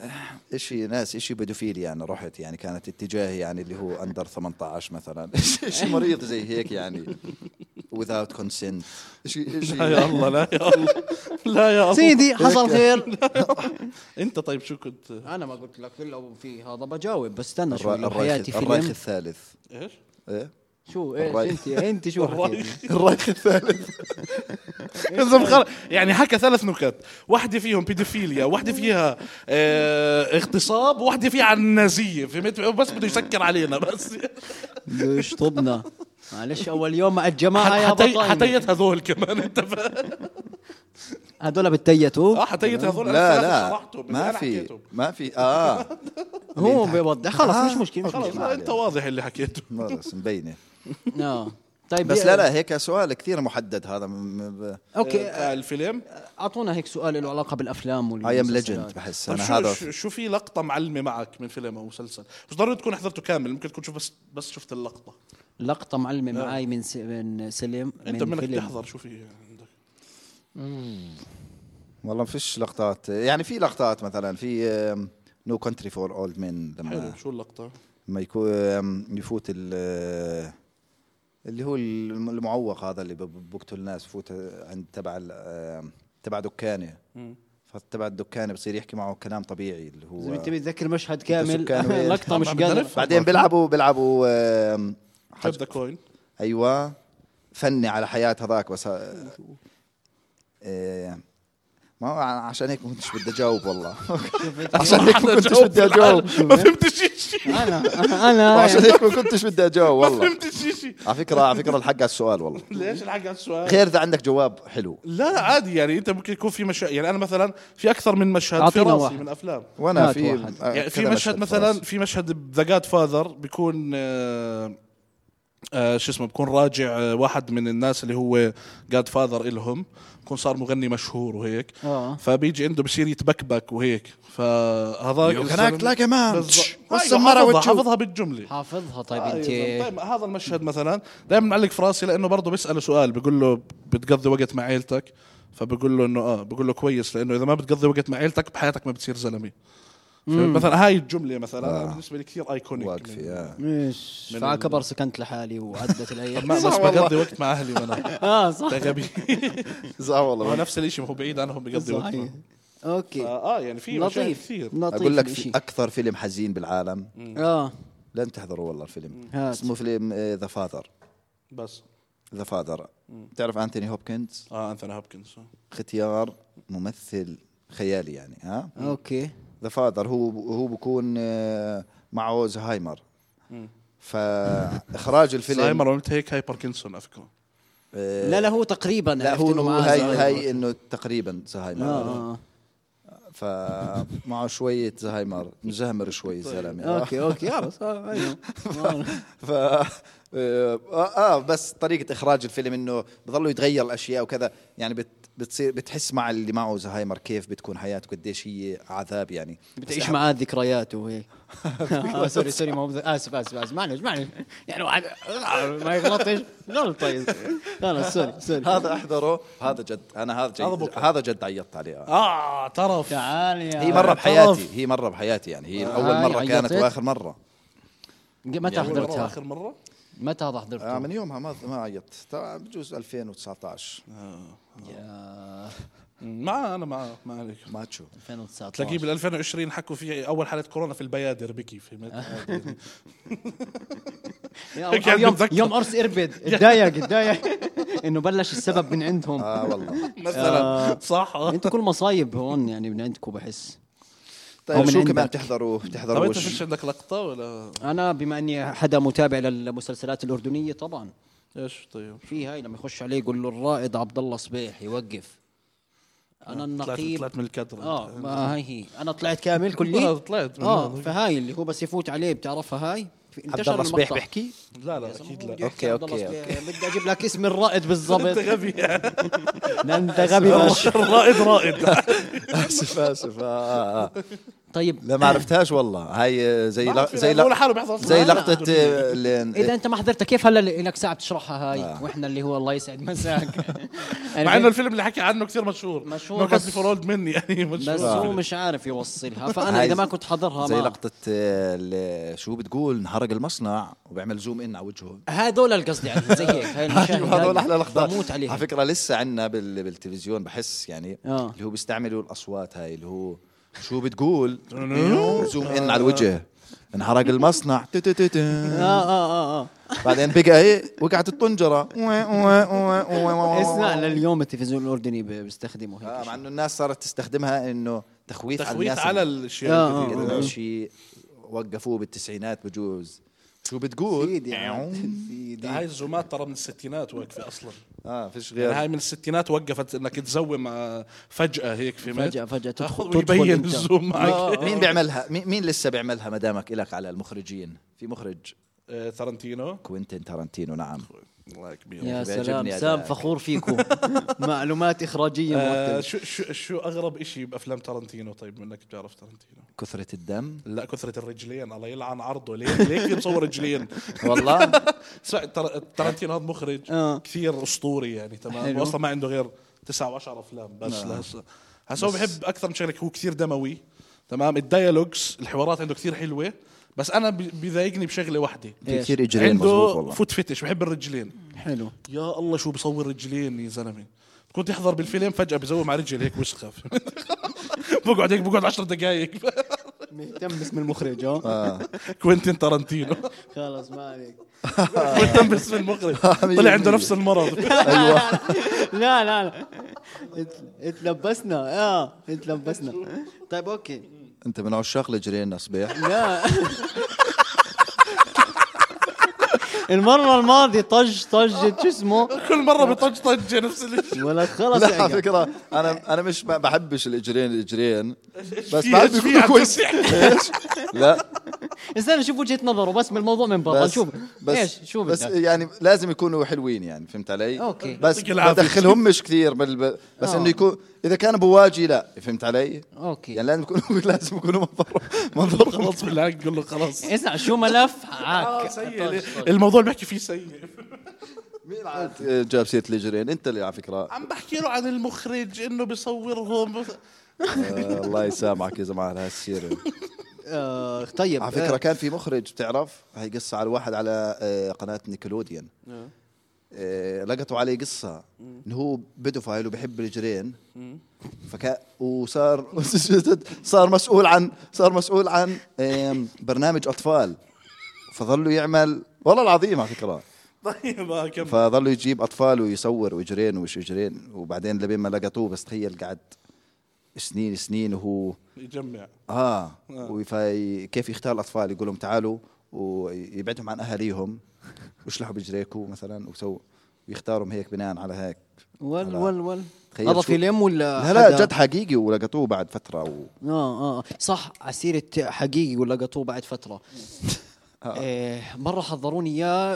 A: اشي ناس اشي بدوفيليا يعني رحت يعني كانت اتجاهي يعني اللي هو اندر 18 *laughs* مثلا اشي مريض زي هيك يعني without consent اشي
D: *laughs*
A: اشي
D: لا يا الله لا يا الله لا يا الله
C: سيدي حصل خير
D: انت طيب شو كنت
C: انا ما قلت لك لو في هذا بجاوب بس استنى شوي
A: الرا-
C: لو
A: الرايخ
C: حياتي
A: الرايخ
C: فيلم
A: الثالث
D: ايش؟
A: ايه
C: شو ايش
A: الرايخ.
C: انت انت شو
A: طيب.
D: *laughs*
C: حكيت
D: الرايخ.
A: الرايخ
C: *laughs*
A: الثالث
D: إذا بخر- يعني حكى ثلاث نكت واحدة فيهم بيدوفيليا واحدة فيها آه، اغتصاب واحدة فيها عن النازية فهمت بس بده يسكر علينا بس
C: بده يشطبنا معلش اول يوم مع الجماعه آه، يا
D: حتي
C: بطل
D: حتيت هذول كمان انت فاهم؟
C: هذول بتيتوا
D: اه حتيت هذول أنا
A: لا
D: ثلاثة
A: لا
D: شرحتهم،
A: ما في
D: أنا حكيتهم.
A: ما في اه
C: هو بيوضح خلص مش مشكله مش
D: خلص
C: مشكله
D: لا، انت واضح اللي حكيته
A: خلص
C: *laughs*
A: مبينه
C: آه. طيب
A: بس لا لا هيك سؤال كثير محدد هذا
C: اوكي
D: آه، الفيلم
C: اعطونا هيك سؤال له علاقه بالافلام
A: اي ام
C: والمسلسلات.
A: ليجند بحس
D: طيب
A: انا
D: شو,
A: هذا
D: شو, شو في لقطة معلمة معك من فيلم أو مسلسل؟ مش ضروري تكون حضرته كامل، ممكن تكون شوف بس بس شفت اللقطة،
C: لقطه معلمه معاي من س... من سلم
D: نعم. أنت
C: من
D: منك
C: فيلم.
D: تحضر شو في عندك؟
A: والله ما فيش لقطات يعني في لقطات مثلا في نو كونتري فور اولد مين لما
D: حلو شو اللقطة؟
A: ما يكون آم، يفوت ال- آه، اللي هو الم- المعوق هذا اللي ب- بقتل الناس يفوت عند تبع ال- آم، تبع دكانه فتبع الدكانه بصير يحكي معه كلام طبيعي اللي
C: إذا
A: هو
C: انت بتذكر مشهد كامل *laughs*
A: سكان وين؟
C: لقطه مش
D: طبعاً
C: قادر
D: بتعرف.
A: بعدين بيلعبوا بيلعبوا آم،
D: جاب
A: حج-
D: ذا
C: *laughs*
D: كوين
A: ايوه فني على حياه هذاك بس آه، آه، ما هو عشان هيك ما كنتش بدي اجاوب والله
C: *laughs*
A: عشان هيك ما كنتش بدي اجاوب
D: ما فهمتش شيء
C: انا
A: *laughs*
C: انا
A: عشان هيك ما كنتش بدي اجاوب
D: ما
A: والله
D: فهمتش شيء
A: على فكره على فكره الحق على السؤال والله
D: ليش الحق على السؤال؟
A: خير اذا عندك جواب حلو
D: لا لا عادي يعني أنت ممكن يكون في مشاهد يعني أنا مثلا في أكثر من مشهد في
C: أعطينا
D: راسي
C: واحد.
D: من أفلام
A: وانا
C: هات
A: في
C: واحد.
A: آه،
D: يعني في
A: كذا
D: مشهد مثلا في مشهد ذا جاد فاذر بيكون آه، آه، شو اسمه بكون راجع آه، واحد من الناس اللي هو جاد فاذر إلهم بكون صار مغني مشهور وهيك
C: آه.
D: فبيجي عنده بصير يتبكبك وهيك فهذا أيوة،
A: You can act like a man. What's the matter with
D: حافظها,
A: you?
D: حافظها
C: *laughs*
D: بالجمله
C: حافظها طيب
D: آه، يا زلمة.
C: انت
D: طيب هذا المشهد مثلا دائما معلق في راسي لانه برضه بيساله سؤال بيقول له بتقضي وقت مع عيلتك فبقول له انه اه بقول له كويس لانه اذا ما بتقضي وقت مع عيلتك بحياتك ما بتصير زلمه مثلا هاي الجمله مثلا آه. بالنسبه لي كثير ايكونيك
A: واقفه
C: *laughs*
A: يا.
C: مش فكبر سكنت لحالي وعدت
D: *laughs*
C: الايام *laughs*
D: ما بس
A: صح والله.
D: بقضي وقت مع اهلي وانا
C: اه
D: *laughs*
C: صح
D: أنت غبي
A: صح
D: هو
A: والله
D: نفس الشيء ما هو بعيد عنهم بقضي وقت
C: صحيح.
D: معهم.
C: اوكي
D: آه, اه يعني في مشاهد
C: لطيف
D: كثير
C: لطيف
A: اقول لك
C: الإشي.
A: في اكثر فيلم حزين بالعالم
C: اه
A: لن تحضروا والله الفيلم
C: هات.
A: اسمه فيلم آه، ذا فاذر
D: بس
A: ذا فاذر بتعرف انتوني هوبكنز
D: اه انثوني هوبكنز
A: ختيار ممثل خيالي يعني ها
C: اوكي
A: ذا فاذر هو هو بكون آه، معه زهايمر فاخراج الفيلم آه،
D: سايمر عملت هيك هاي باركنسون على فكره
C: لا لا هو تقريبا
A: لا
C: عرفت
A: هو
C: إنه
A: هو
C: معاه
A: هاي
C: زهايمر.
A: هاي انه تقريبا زهايمر
C: آه، آه.
A: فمعه شويه زهايمر مزهمر شوي
C: طيب.
A: الزلمه
C: اوكي اوكي خلاص آه، أيوه. آه.
A: ف آه, اه بس طريقه اخراج الفيلم انه بضلوا يتغير الاشياء وكذا يعني بت بتصير بتحس مع اللي معه زهايمر كيف بتكون حياته قديش هي عذاب يعني
C: بتعيش معاه ذكريات *laughs* وهيك
E: آه سوري سوري ما هو بز- اسف اسف اسف معلش معلش يعني
C: *laughs*
E: واحد ما يغلط ايش غلط طيب
C: خلاص سوري سوري
A: هذا احضره هذا جد انا هذا جد هذا جد عيطت عليه آه.
D: اه طرف
E: تعال يا
A: هي مره
D: آه،
A: بحياتي
D: طرف.
A: هي مره بحياتي يعني هي
E: آه،
A: اول مره
E: عيطت؟
A: كانت واخر مره
C: متى حضرتها؟
D: اخر مره
C: متى هذا
A: آه
C: حضرتها؟
A: من يومها ما ما عيطت طبعا بجوز 2019
D: معاه انا معاه ما عليك
A: ماتشو
C: 2019
D: تلاقيه بال 2020 حكوا فيه اول حالة كورونا في آه، البيادر بكي فهمت
C: يا
D: هيك
C: أو- أو
D: يعني
C: يوم
D: بتذكر.
C: يوم ارس اربد
E: اتضايق اتضايق
C: انه بلش السبب من عندهم
A: اه والله
D: مثلا صح آه.
C: انتوا كل مصايب هون يعني من عندكم بحس أو
A: طيب
C: من
A: شو كمان
C: عندك.
A: بتحضروا
D: طب
A: بتحضروا
D: انت
A: وش *laughs*
D: فيش عندك لقطة ولا
C: انا بما اني حدا متابع للمسلسلات الاردنيه طبعا
D: ايش طيب
C: في هاي لما يخش عليه يقول له الرائد عبد الله صبيح يوقف
A: آه،
C: انا
D: طلعت
C: النقيب
D: طلعت من الكادر
C: اه
D: أنت.
C: ما هاي هي انا طلعت
A: *laughs*
C: كامل
D: آه،
C: كلي
D: طلعت من
C: اه
D: اه
C: فهاي اللي هو بس يفوت عليه بتعرفها هاي في-
A: عبد الله صبيح
C: المقطع.
A: بيحكي
D: لا لا
C: يا زلمة
D: اكيد
C: هو
D: لا
C: بده
A: أوكي،
C: يحكي عبد الله
A: أوكي،
C: صبيح. بدي اجيب لك اسم
A: *laughs*
C: الرائد
D: *laughs*
C: بالضبط
D: غبي
C: لا انت غبي ماشي
D: *laughs* رائد رائد
A: اسف اسف آه آه.
C: طيب
A: لا ما عرفتهاش والله هاي زي
D: *laughs*
A: لا زي
D: ولا
A: لا
D: حاله بيحضر
A: زي
C: لا.
A: لقطة آه،
C: اذا
A: اللي-
C: انت ما حضرتها كيف هلا اللي لك ساعه بتشرحها هاي آه. واحنا اللي هو الله يسعد
A: *laughs*
C: مساك يعني
D: مع انه
C: فاهم؟
D: الفيلم اللي حكي عنه كثير مشهور
C: مشهور
D: نوكت
C: بس-
D: بيفور اولد من يعني
C: بس
D: مشهور
C: هو مش عارف يوصلها فانا
A: هاي
C: اذا ما كنت حضرها
A: زي
C: ما
A: لقطة آه، اللي- شو بتقول انهرق المصنع وبيعمل زوم ان على وجهه
C: هذول القصدي يعني زي هيك هاي المشاهد
A: ايوه *laughs* هذول
C: هاي
A: احلى لقطات
C: بموت عليها
A: على فكره لسه عندنا بال... بالتلفزيون بحس يعني
C: آه.
A: اللي هو بيستعملوا الاصوات هاي اللي هو شو *laughs* بتقول زوم ان على الوجه انحرق
C: *laughs*
A: المصنع *laughs* تو تو تو تو.
C: اه اه اه
A: بعدين بقى ايه وقعت الطنجره وي- وي- وي- وي-
C: اه
A: وي-
C: *laughs* اسمع
A: وي-
C: لليوم التلفزيون الاردني ب- بيستخدمه هيك
A: آه، مع انه الناس صارت تستخدمها انه تخويف على
D: تخويت
A: الناس
D: على
A: اللي-
D: الاشياء
C: آه، آه.
D: الكثيرة.
A: إنه شيء وقفوه بالتسعينات بجوز شو بتقول
C: سيدي عاد،
D: هاي الزومات ترى من الستينات واقفه اصلا
A: اه فيش
D: يعني هاي
A: غير
D: من الستينات وقفت انك تزوم آه، فجاه هيك في
C: فجأة- فجأة تدخل-
D: تاخذ
C: تدخل
D: ويبين
C: أنت.
D: الزوم *laughs* معك
A: آه، مين بيعملها مين مين لسه بيعملها ما دامك الك على المخرجين في مخرج
D: آه، تارنتينو
A: كوينتين تارانتينو نعم
D: الله كبير
C: يا
A: بيعجبني
C: سلام
A: أداءك.
C: سام فخور
A: *laughs*
C: فيكم معلومات اخراجيه
D: آه،
C: مرتبه
D: شو شو شو اغرب شيء بافلام تارنتينو طيب منك بتعرف تارنتينو
A: كثرة الدم
D: لا كثرة الرجلين الله يلعن عرضه ليه ليه بصور *laughs* رجلين
A: والله
D: اسمع، تر- تارنتينو هذا مخرج
C: آه.
D: كثير اسطوري يعني تمام
C: حلو. نعم.
D: واصلا ما عنده غير تسعة وعشرة افلام بس لهسه هسه هو بحب اكثر من شغله هو كثير دموي تمام الديالوجز الحوارات عنده كثير حلوه بس انا بي- بيضايقني بشغله واحده
A: في كثير اجرين مزبوط
D: عنده
A: والله
D: فوت فتش بحب الرجلين
C: حلو
D: يا الله شو بصور رجلين يا زلمه بكون تحضر بالفيلم فجاه بزوم مع رجل هيك وسخف *laughs* بقعد هيك بقعد 10 دقائق
C: مهتم باسم المخرج
A: آه.
C: اه
D: *laughs* كوينتين تارنتينو
C: خلص ما عليك آه.
D: كوينتين
C: *laughs*
D: باسم المخرج طلع عنده نفس المرض
A: أيوة.
C: لا لا لا ات- اتلبسنا اه اتلبسنا طيب اوكي
A: انت من عشاق الاجرين صبيح
C: لا *laughs* المرة الماضية طج طجت شو اسمه
A: *laughs*
D: كل مره بطج طجه نفس الشيء
C: ولا خلص
A: لا على
C: يعني
A: فكرة انا انا مش ما بحبش الاجرين
D: *laughs*
A: الاجرين بس
D: في-
A: بعد
D: في
A: بيكونوا
D: عم *laughs*
A: كويس إيش؟ لا
C: استنى نشوف وجهة نظره بس من الموضوع من برا
A: بس
C: نشوف
A: بس
C: ايش شو
A: بس
C: بدك
A: يعني لازم يكونوا حلوين يعني فهمت علي؟
C: أوكي.
A: بس
D: يعطيك العافية.
A: بدخلهم مش كثير بال- ب- بس
C: آه.
A: انه يكون اذا كان بواجي لا فهمت علي؟
C: اوكي
A: يعني لازم يكونوا *laughs* لازم يكونوا منظر منظر
D: خلص بالله قول له طيب. خلص
C: اسمع شو ملف عاك
D: سيء الموضوع اللي بحكي فيه سيء
A: مين عاد جاب سيرة الاجرين انت اللي على فكرة
D: عم بحكي له عن المخرج انه بصورهم
A: آه، الله يسامحك يا زلمه على هالسيره
C: آه، طيب
A: على فكره كان في مخرج بتعرف هي قصه على واحد على آه، قناه نيكلوديان آه، لقطوا عليه قصه انه هو بدوفايل وبحب الجرين فكان وصار *laughs* صار مسؤول عن صار مسؤول عن آم، برنامج اطفال فظلوا يعمل والله العظيم على فكره
D: طيب آه، كمل
A: فظلوا يجيب اطفال ويصور وجرين ومش جرين وبعدين لبين ما لقطوه بس تخيل قعد سنين سنين وهو
D: يجمع
A: اه, وفاي كيف يختار الاطفال يقول لهم تعالوا ويبعدهم عن اهاليهم واشلحوا بجريكوا مثلا وسو ويختارهم هيك بناء على هيك
C: ول
A: هلا.
C: ول ول
A: تخيل
C: هذا
A: شو-
C: فيلم ولا
A: لا لا
C: حدا؟ آه،
A: جد حقيقي ولقطوه بعد فتره و... *laughs*
C: اه اه صح عسيرة حقيقي ولا قطوه بعد فترة
A: آه.
C: إيه، مره حضروني اياه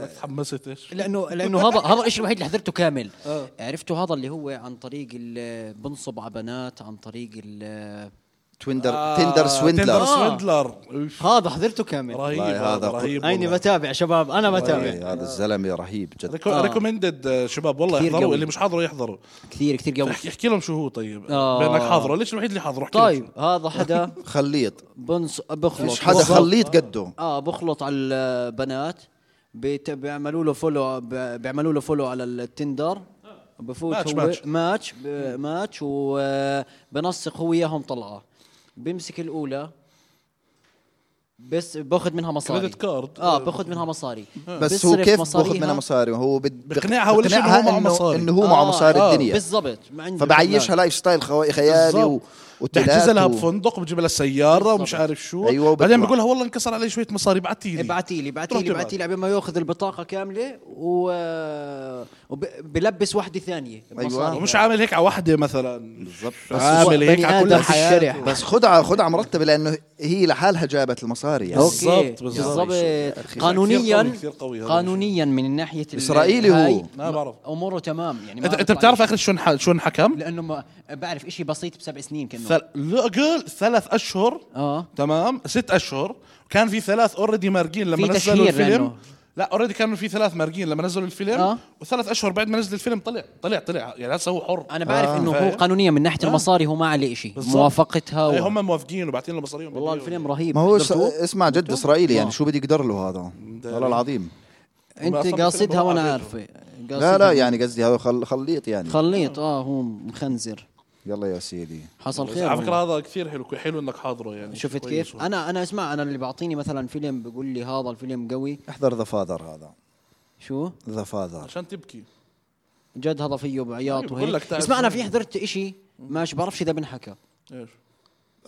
A: *laughs*
D: ما تحمست ايش
C: لانه لانه هذا هذا الشيء الوحيد اللي حضرته كامل
A: آه.
C: عرفته هذا اللي هو عن طريق ال- بنصب على بنات عن طريق ال-
A: تويندر تندر
D: تندر
A: سويندلر
D: سويندلر
E: هذا حضرته كامل
D: رهيب
A: والله
D: هذا
A: هذا
D: رهيب
E: عيني
D: والله.
E: بتابع شباب انا
C: آه،
E: بتابع
A: إيه، هذا الزلمه رهيب جد
D: ريكو- ريكومندد آه، شباب والله
C: كثير
D: يحضروا
C: قوي.
D: اللي مش حاضروا يحضروا
C: كثير كثير
A: *laughs*
C: قوي
D: احكي احكي لهم شو هو طيب
C: آه.
D: بانك حاضره ليش الوحيد اللي حاضره احكي لهم شو.
C: طيب هذا حدا
A: خليط
C: بنص بخلط
A: مش حدا
C: بخلط-
A: خليط قده
C: اه بخلط على البنات بيت- بيعملوا له فولو ب- بيعملوا له فولو على التندر بفوت
D: ماتش-
C: هو
D: ماتش.
C: ماتش ب- ماتش وبنسق هو وياهم طلعه بيمسك الاولى بس باخذ منها مصاري
D: كريدت كارد.
C: اه باخذ منها
D: *laughs*
C: مصاري
A: بس هو
C: بيصرف
A: كيف باخذ منها
C: مصاريها-
A: مصاري هو بد-
D: بقنعها ولا شو إنه
A: بقنعها
D: هو معه
A: إنه-
D: مصاري.
A: انه هو معه
C: آه،
A: مصاري
C: آه،
A: الدنيا
C: بالضبط ما عنده
A: فبعيشها
C: فلان.
A: لايف ستايل خوا- خيالي و-
D: بالضبط.
A: وتلات
D: بتحجزها لها
A: و-
D: بفندق بتجيب لها السياره ومش عارف شو
A: أيوة، وبتروح.
D: بعدين بقول لها والله انكسر علي شويه مصاري ابعتي لي
C: ابعتي لي ابعتي
D: تروح
C: لي ابعتي لي عبين ما ياخذ البطاقه كامله و آه، وبلبس وحده ثانيه
A: أيوة.
C: بمصاري.
D: ومش عامل هيك على وحده مثلا
A: بالضبط
D: عامل هيك
C: بني
D: على كل
C: آدم
D: الحياه
C: بالشارع.
A: بس خدعه خدعه مرتبه لانه هي لحالها جابت المصاري يعني
D: أوكي. بالضبط، بالضبط.
C: بالضبط
D: أخي، كثير
C: قانونيا
D: قوي، كثير قوي هذا
C: قانونيا من ناحيه ال-
A: إسرائيلي هو.
C: هاي،
D: ما بعرف.
C: اموره تمام يعني ما
D: انت انت
C: بطلع
D: بتعرف
C: شيء.
D: اخر شو انح- شو انحكم؟
C: لانه ما بعرف شيء بسيط بسبع سنين كانه
D: ثل... لا قل ثلاث اشهر
C: آه.
D: تمام ست اشهر كان في ثلاث اوريدي مارقين لما
C: في
D: نزلوا
C: تشهير
D: الفيلم
C: لأنه.
D: لا اوريدي كانوا في ثلاث مارقين لما نزلوا الفيلم
C: آه.
D: وثلاث اشهر بعد ما نزل الفيلم طلع طلع طلع يعني هسه هو حر
C: انا بعرف انه
D: فاهم.
C: هو قانونيا من ناحيه المصاري هو ما عليه شيء
D: آه. بالضبط.
C: موافقتها
D: أي
C: و...
D: هم موافقين وبعتين له مصاريهم
C: والله
D: باليوم.
C: الفيلم رهيب
A: ما هو س-
C: حضرتوه؟ آه.
A: اسمع جد اسرائيلي يعني شو بده يقدر له هذا والله العظيم
D: أصلاً
C: انت
D: الفيلم
C: قاصدها
D: هو
C: وانا
D: عارفه.
C: عارفه
A: لا
C: قاصدها.
A: لا يعني قصدي هذا خل- خليط يعني
C: خليط اه هو مخنزر
A: يلا يا سيدي
C: حصل
D: بس
C: خير
D: على فكره
C: والله.
D: هذا كثير حلو حلو انك حاضره يعني
C: شفت
D: كويس
C: كيف؟
D: والله.
C: انا انا اسمع انا اللي بعطيني مثلا فيلم بقول لي هذا الفيلم قوي
A: احضر ذا فاذر هذا
C: شو؟
A: ذا فاذر
D: عشان تبكي
C: جد هذا فيه بعياط
D: طيب، بقول لك
C: وهيك
D: تعال
C: اسمع انا
D: شوي.
C: في حضرت إشي ماشي بعرفش اذا بنحكى
D: ايش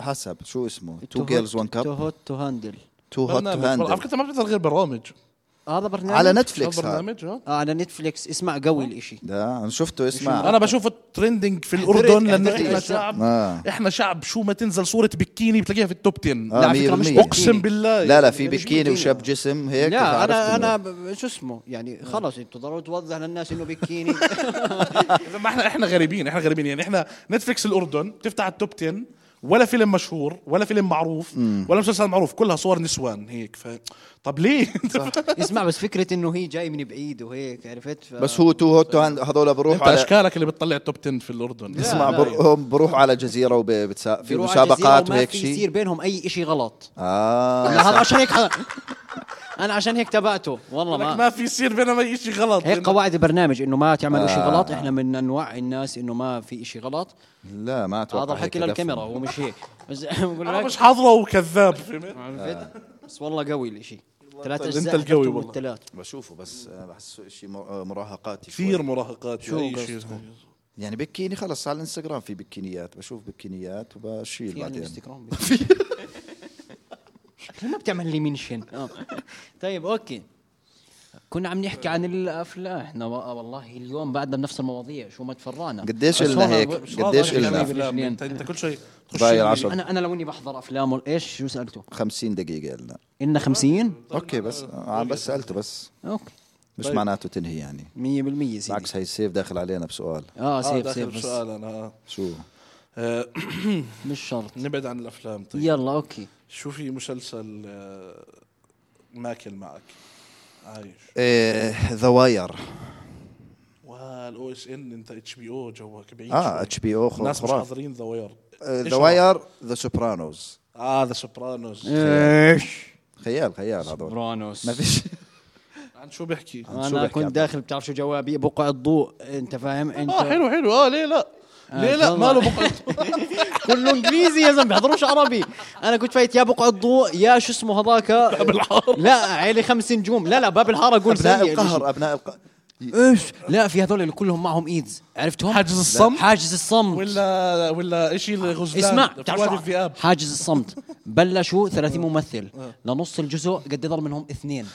A: حسب شو اسمه تو جيرلز وان
C: تو
A: كاب
C: هوت تو هاندل
A: تو هوت
D: برنامج والله.
A: هاندل
D: على فكره أنت ما بتحضر غير برامج
C: هذا برنامج
A: على آه،
D: شو
A: نتفليكس هذا
D: برنامج ها
C: آه على نتفليكس اسمع قوي الإشي
A: ده انا شفته اسمع
D: انا بشوفه ترندنج في الاردن لانه
C: حضرت
D: احنا
C: إيش؟
D: شعب
A: آه.
D: احنا شعب شو ما تنزل صوره بكيني بتلاقيها في التوب 10
A: آه
C: على فكرة مش
A: 100%.
D: اقسم بالله
A: لا لا
D: يعني.
A: في
C: مش
A: بكيني
C: بكيني.
A: وشاب جسم هيك
C: لا
A: فعرفت
C: انا
A: إنه-
C: انا ب- شو اسمه
D: آه.
C: يعني خلص انتوا ضروري توضح للناس انه
D: *laughs*
C: بكيني
D: إذا ما احنا احنا غريبين احنا غريبين يعني احنا نتفلكس الاردن بتفتح التوب 10 ولا فيلم مشهور ولا فيلم معروف ولا مسلسل معروف كلها صور نسوان هيك ف طب ليه *laughs*
C: اسمع بس فكره انه هي جاي من بعيد وهيك عرفت ف...
A: بس هو تو هوت هذول بروحوا
D: انت
A: على
D: اشكالك اللي بتطلع التوب 10 في الاردن
A: اسمع
D: لا،
A: بر...
D: لا.
A: هم بروحوا على جزيره وبتسا... في
C: بيروحوا على الجزيرة
A: مسابقات
C: وما
A: وهيك
C: في
A: شيء
C: يصير بينهم اي إشي غلط
A: اه
C: هذا عشان هيك *laughs* انا عشان هيك تبعته والله
D: لك
C: ما
D: ما في يصير بيننا اي شيء غلط
C: هيك
D: لأنه-
C: قواعد البرنامج انه ما تعملوا شيء
A: آه.
C: غلط احنا بدنا نوعي الناس انه ما في شيء غلط
A: لا ما اتوقع
C: هذا الحكي
A: هيك
C: للكاميرا
A: دفن.
C: هو مش هيك بس *laughs* بقول
D: انا
C: لك
D: يعني مش حاضره وكذاب فهمت؟
C: عرفت بس والله قوي الاشي ثلاث
D: طيب. أنت
C: اجزاء
D: القوي
C: حضرتهم
D: والله.
C: الثلاث
A: بشوفه بس آه، بحسه شيء مراهقات
D: كثير مراهقات
C: شو
D: شو
C: قصدك؟
A: يعني بكيني خلص على الانستغرام في بكينيات بشوف بكينيات وبشيل
C: في على
A: بعدين
D: *laughs*
C: الانستغرام ليه ما بتعمل لي منشن آه. طيب اوكي كنا عم نحكي عن الافلام احنا و- والله اليوم بعدنا بنفس المواضيع شو ما تفرعنا
A: قديش
C: بس
A: إلنا
C: هون
A: هيك؟
C: ب-
A: قديش
C: إلنا؟
D: انت انت كل شيء تخش
A: ضايع
D: يعني.
A: العشرة.
C: انا انا لو اني بحضر افلام وال- ايش شو سالته
A: 50 دقيقه لنا
C: إلنا 50
A: اوكي بس
C: طيب،
A: آه، عم بس سالته بس
C: اوكي
A: مش
C: طيب.
A: معناته تنهي يعني
C: 100% سيدي
A: بالعكس هي السيف داخل علينا بسؤال
C: اه
D: اه
C: سيف
D: داخل
C: سيف بس
D: سؤال انا آه.
A: شو
D: آه،
C: مش شرط
D: نبعد عن الافلام طيب
C: يلا اوكي
D: شو في مسلسل آه، ماكل معك عايش
A: ذا واير
D: والاو اس ان انت اتش بي او جوك بعيد
A: اه
D: شوي.
A: اتش بي آه، او
D: إيه، الناس مش
A: خرافي إيه،
D: حاضرين ذا واير
A: ذا واير ذا سوبرانوز
D: اه ذا سوبرانوس
C: آه. ايش
A: خيال خيال هذول
C: برانوس
A: ما فيش
D: عن شو بيحكي
A: شو
C: انا
A: بحكي عبد؟
C: كنت داخل بتعرف شو جوابي بقع الضوء انت فاهم انت
D: اه حلو حلو اه ليه لا ليه لا
C: يلا.
D: ماله بقعة
C: كله انجليزي يا زلمه بيحضروش عربي انا كنت فايت يا بقع الضوء يا شو اسمه هذاك باب
D: الحار.
C: لا عيلي خمس نجوم لا لا باب الحاره اقول
A: ابناء
C: سيء
A: القهر ابناء القهر
C: الإشي. ايش لا في هذول اللي كلهم معهم ايدز عرفتهم
D: حاجز
C: لا،
D: الصمت؟
C: حاجز الصمت
D: *laughs* ولا طيب، ولا شيء الغزلان
C: اسمع
D: بتعرف
C: بتعرف شو-
D: الذئاب
C: حاجز الصمت بلشوا 30 ممثل لنص الجزء قد ضل منهم اثنين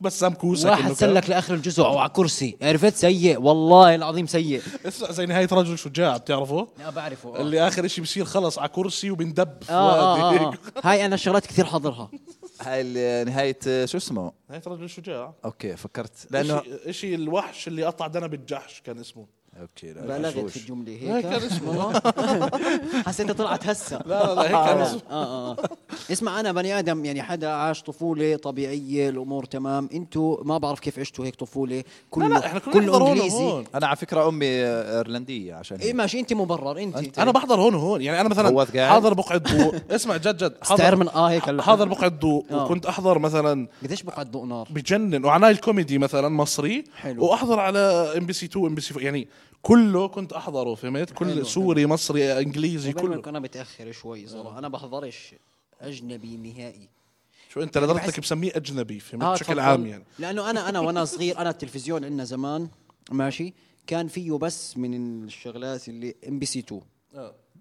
D: بسام كوسك
C: واحد
D: إنه
C: سلك لاخر الجزء او على كرسي عرفت سيء والله العظيم
D: *laughs*
C: سيء
D: كان- اسمع زي نهايه رجل شجاع بتعرفه
C: لا بعرفه آه.
D: اللي اخر شيء بصير خلص على كرسي وبندب في *laughs*
C: آه, آه,
D: وادي *laughs*
C: آه, آه هاي انا شغلات كثير حاضرها
A: هاي ال- نهايه آه، شو اسمه
D: نهاية رجل شجاع
A: اوكي فكرت لانه
D: لانه اشي الوحش اللي قطع دنا بالجحش كان اسمه
A: اوكي لا،
C: بلغت
A: مشوش.
C: في الجمله
D: هيك كان
C: هيك
D: اسمه
C: حسيتها طلعت *laughs*
D: *laughs*
C: هسه
D: لا لا هيك كان اسمه
C: آه آه. اسمع انا بني ادم يعني حدا عاش طفوله طبيعيه الامور تمام انتوا ما بعرف كيف عشتوا هيك طفوله كله
D: لا، إحنا كنا
C: كله
D: نحضر هون
C: انجليزي
D: وهون.
A: انا على فكره امي آه، ايرلنديه عشان
C: ايه
A: هيك.
C: ماشي انت مبرر انت, انت.
D: انا بحضر هون وهون يعني انا مثلا
A: عوض قاعد.
D: حاضر بقعه ضوء *laughs* اسمع جد جد
C: استعير
D: حاضر
C: من اه هيك هلا.
D: حاضر بقعه ضوء
C: آه.
D: وكنت احضر مثلا
C: قديش بقعد ضوء نار
D: بجنن وعناي الكوميدي مثلا مصري
C: حلو.
D: واحضر على ام بي سي 2 ام بي سي يعني كله كنت احضره فهمت كل سوري مصري انجليزي كله
C: كله انا متاخر شوي صراحه انا بحضرش اجنبي نهائي
D: شو انت لدرجتك مسميه اجنبي فهمت
C: آه،
D: بشكل
C: تفضل.
D: عام يعني
C: لانه انا انا وانا صغير انا التلفزيون عندنا زمان ماشي كان فيه بس من الشغلات اللي ام بي سي 2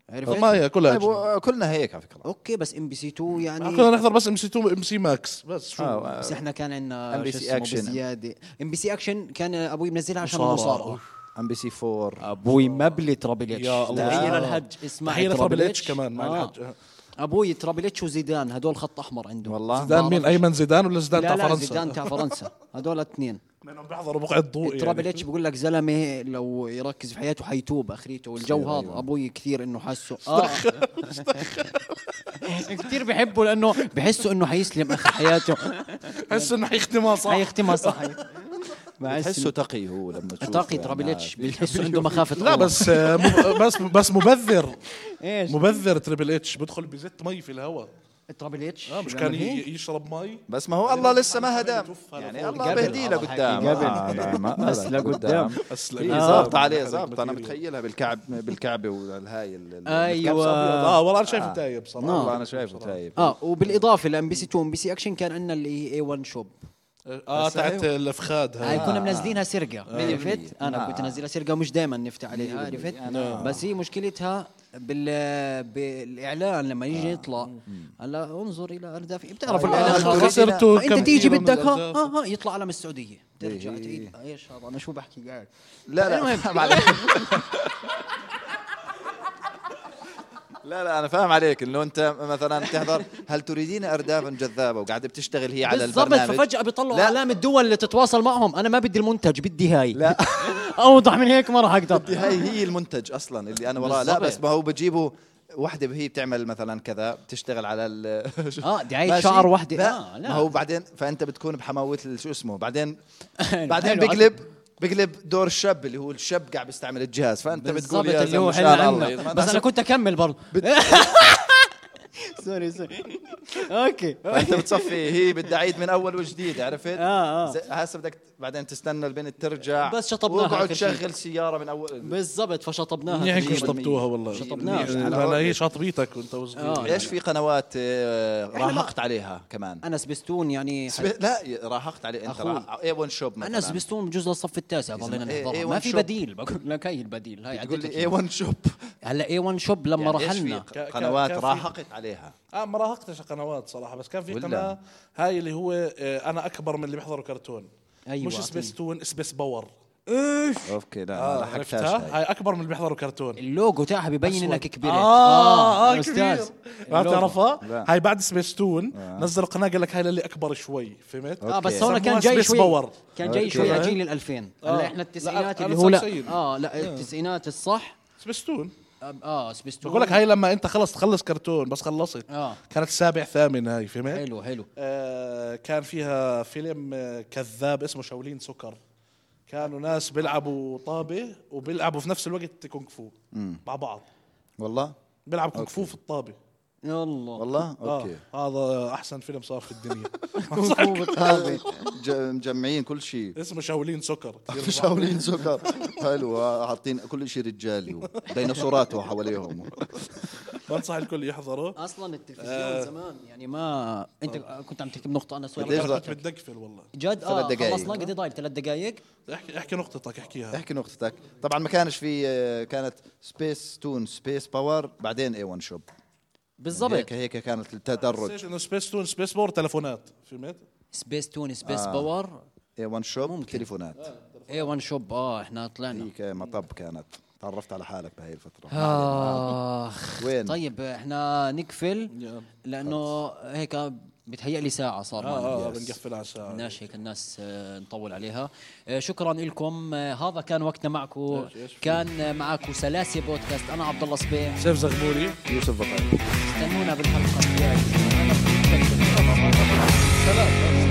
C: عرفت؟
D: ما هي كلها
A: طيب
D: أجنبي.
A: و- كلنا هيك على فكره
C: اوكي بس ام بي سي 2 يعني
D: آه، كنا نحضر بس ام سي 2 ام سي ماكس بس شو
A: آه، آه،
C: بس احنا كان عندنا
A: NBC
C: شو اسمه
A: Action.
C: بزياده ام بي سي اكشن كان ابوي منزلها عشان
D: مصارعة.
C: المصارعه
A: ام بي سي 4
E: ابوي مبلي ترابل اتش
D: يا الله.
C: تحيه
D: آه.
C: للحج اسمع
D: تحية لترابل إتش كمان، مع
C: آه.
D: الحج. آه.
C: ابوي ترابل اتش وزيدان هدول خط احمر عنده
A: والله؟
D: زيدان مين
C: بعرفش.
D: ايمن زيدان ولا زيدان
C: لا
D: تاع
C: لا
D: فرنسا؟
C: زيدان تاع فرنسا هدول اثنين
D: لانهم بيحضروا بقعه ضوء
C: ترابل
D: يعني
C: اتش بيقول لك زلمه لو يركز في حياته حيتوب اخريته
D: إيه،
C: والجو
D: أيوة.
C: هذا ابوي كثير انه حاسه اه *laughs*
E: كثير بحبه لانه
C: بحسه انه حيسلم اخر حياته
D: بحس انه حيختمها صح
C: حيختمها صح
A: تحسه تقي هو لما تشوفه
C: تقي
A: يعني.
C: ترابل اتش بتحسه عنده مخافه
D: لا
C: الله.
D: بس آه، مب- بس بس مبذر
E: ايش
D: مبذر تريبل اتش بدخل بزت مي في الهواء
C: ترابل اتش
D: اه مش كان
C: لما هيك.
D: ي- يشرب مي
A: بس ما هو الله لسه ما هدام يعني الله
E: قبل.
A: بهديه لقدام
E: قبل.
A: آه، لا، ما-
E: بس
A: لا،
E: لقدام.
D: بس
A: هي
C: إيه.
A: ظابطه عليه ظابطه انا متخيلها بالكعب بالكعبه والهاي ال- ال-
C: أيوة.
A: الكبسة أبيض.
D: اه والله انا شايفه تايب
A: والله
D: بصراحه
A: انا شايفه تايب
C: اه وبالاضافه لام بي سي 2 ام بي سي اكشن كان عندنا اللي اي 1 شوب
D: اه تاعت الافخاد
C: هاي
D: هاي
A: آه.
C: كنا آه، منزلينها سرقه
A: بالمية.
C: عرفت انا كنت انزلها سرقه ومش دائما نفتح عليها عرفت
A: آه.
C: بس هي مشكلتها بال بالاعلان لما يجي يطلع هلا انظر الى اهداف بتعرف
A: آه،
C: الاعلان
A: آه،
C: خلص.
D: خسرته كم
C: فانت تيجي
D: كيلو من
C: بدك ها
D: الأهداف.
C: ها ها يطلع علم السعوديه ترجع تعيد ايش هذا انا شو بحكي قاعد
A: إيه، لا لا *laughs*
C: المهم.
A: فاهم عليك لا لا انا فاهم عليك انه انت مثلا تحضر هل تريدين اردافا جذابه وقاعده بتشتغل هي على
C: بالضبط
A: البرنامج
C: ففجاه بيطلعوا
A: لا.
C: اعلام الدول اللي تتواصل معهم انا ما بدي المنتج بدي هاي *laughs*
A: لا
E: اوضح من هيك ما راح اقدر
A: هاي هي المنتج اصلا اللي انا وراه لا
C: بالضبط.
A: بس ما هو بجيبه وحده هي بتعمل مثلا كذا بتشتغل على ال
C: آه، دعاية
A: ماشي.
C: شعر وحدة.
A: لا,
C: آه، لا.
A: ما هو بعدين فانت بتكون بحماوه ال- شو اسمه بعدين
C: *laughs*
A: بعدين
E: حلو، عسل.
A: بقلب بقلب دور الشاب اللي هو الشاب قاعد بيستعمل الجهاز فانت بتقول
E: بالضبط
A: يا
E: اللي هو
A: زلمه
E: حل
A: شاء الله
E: عنا
A: بس
E: بس انا
A: أنا
E: كنت اكمل برضه سوري سوري اوكي
A: فانت بتصفي هي بدها عيد من اول وجديد عرفت؟
E: آه، آه.
A: ز- هسه بدك بعدين تستنى البنت ترجع
C: بس شطبناها
A: واقعد
C: آخر شيء.
A: تشغل سياره من اول
C: بالضبط فشطبناها
D: منيح انكم
C: تقريباً.
D: شطبتوها والله
C: شطبناها.
D: منيح. انا هي شاطبيتك وانت
C: آه.
D: وصغير
A: ليش في قنوات آه،
C: إحنا ما-
A: راهقت عليها كمان
C: انا سبستون يعني
A: سب... لا راهقت عليه انت
C: أخوي.
A: راح... اي 1 شوب مثلا
C: انا سبستون بجوز للصف التاسع ضلينا
A: إيه-
C: نحضرها
A: إيه
C: ما
A: وان
C: في
A: شوب.
C: بديل بقول لك هي البديل هي
A: تقول لي
C: عدتك.
A: اي 1 شوب
C: هلا اي 1 شوب لما
A: يعني إيش في
C: رحلنا
A: ق-
D: ك- ك-
A: قنوات
D: كان في-
A: راهقت عليها
D: اه ما راهقتش قنوات صراحه بس كان في
A: ولا؟
D: قناه هاي اللي هو آه، انا اكبر من اللي بيحضروا كرتون
C: أيوة،
D: مش
C: أعطيني.
D: سبيستون سبيس باور
A: اوكي لا
D: آه
A: ما
D: عرفتها هاي اكبر من اللي بيحضروا كرتون
C: اللوجو تاعها ببين انك كبرت
D: اه اه
C: آه، يا
D: آه، كبير ما
C: اللوجو.
D: بتعرفها؟
A: لا.
D: هاي بعد سبيستون نزلوا قناه قال لك هاي للي اكبر شوي فهمت؟
C: اه بس
D: سموها
C: هون كان جاي
D: سبيس
C: شوي
D: باور
C: كان جاي
A: أوكي.
C: شوي على جيل ال2000
D: آه.
C: هلا احنا التسعينات
D: لا،
C: اللي
D: أنا
C: هو
D: صغير.
C: لا اه لا التسعينات الصح
D: سبيستون
C: اه سبستون
D: بقول لك هاي لما انت خلص تخلص كرتون بس خلصت
C: آه.
D: كانت سابع ثامن هاي فهمت؟
C: حلو حلو
D: آه كان فيها فيلم آه، كذاب اسمه شاولين سكر كانوا ناس بيلعبوا طابه وبيلعبوا في نفس الوقت كونغ فو مع بعض
A: والله
D: بيلعب كونغ فو في الطابه
C: يلا
A: والله
D: اه
C: *laughs*
A: اوكي
D: هذا احسن فيلم صار في الدنيا
A: *laughs* هذا ج- مجمعين كل شيء
D: اسمه شاولين سكر
A: شاولين سكر حلو آه، حاطين كل شيء رجالي وديناصورات حواليهم
D: بنصح الكل يحضره
C: اصلا
A: آه.
C: التلفزيون زمان يعني ما انت كنت عم تحكي بنقطه انا
A: بديش
C: سؤال
A: لا.
D: كنت متدقفل والله
C: جد
A: آه. ثلاث
C: اه
A: دقايق.
C: خلصنا قد ضايل ثلاث دقائق
D: احكي احكي نقطتك احكيها
A: احكي نقطتك طبعا ما كانش في آه، كانت سبيس تون سبيس باور بعدين اي 1 شوب
C: بالضبط
A: هيك هيك كانت التدرج
D: حسيت انه سبيس تون سبيس بور تلفونات فهمت؟
C: سبيس تون سبيس
A: آه.
C: باور
A: اي 1 شوب تليفونات
C: اي 1 شوب اه احنا طلعنا
A: هيك مطب كانت تعرفت على حالك بهي الفترة
C: اخ
A: وين؟
C: آه. طيب احنا نقفل لانه هيك بتهيأ لي ساعة صار
A: آه.
C: معنا.
D: اه اه
C: Yes.
D: بنقفل على الساعه
C: بدناش هيك الناس آه، نطول عليها آه، شكرا لكم آه، هذا كان وقتنا معكم كان آه، معكم سلاسي بودكاست انا عبد الله صبيح
D: سيف زغبوري
A: يوسف بطل
C: استنونا بالحلقه الجايه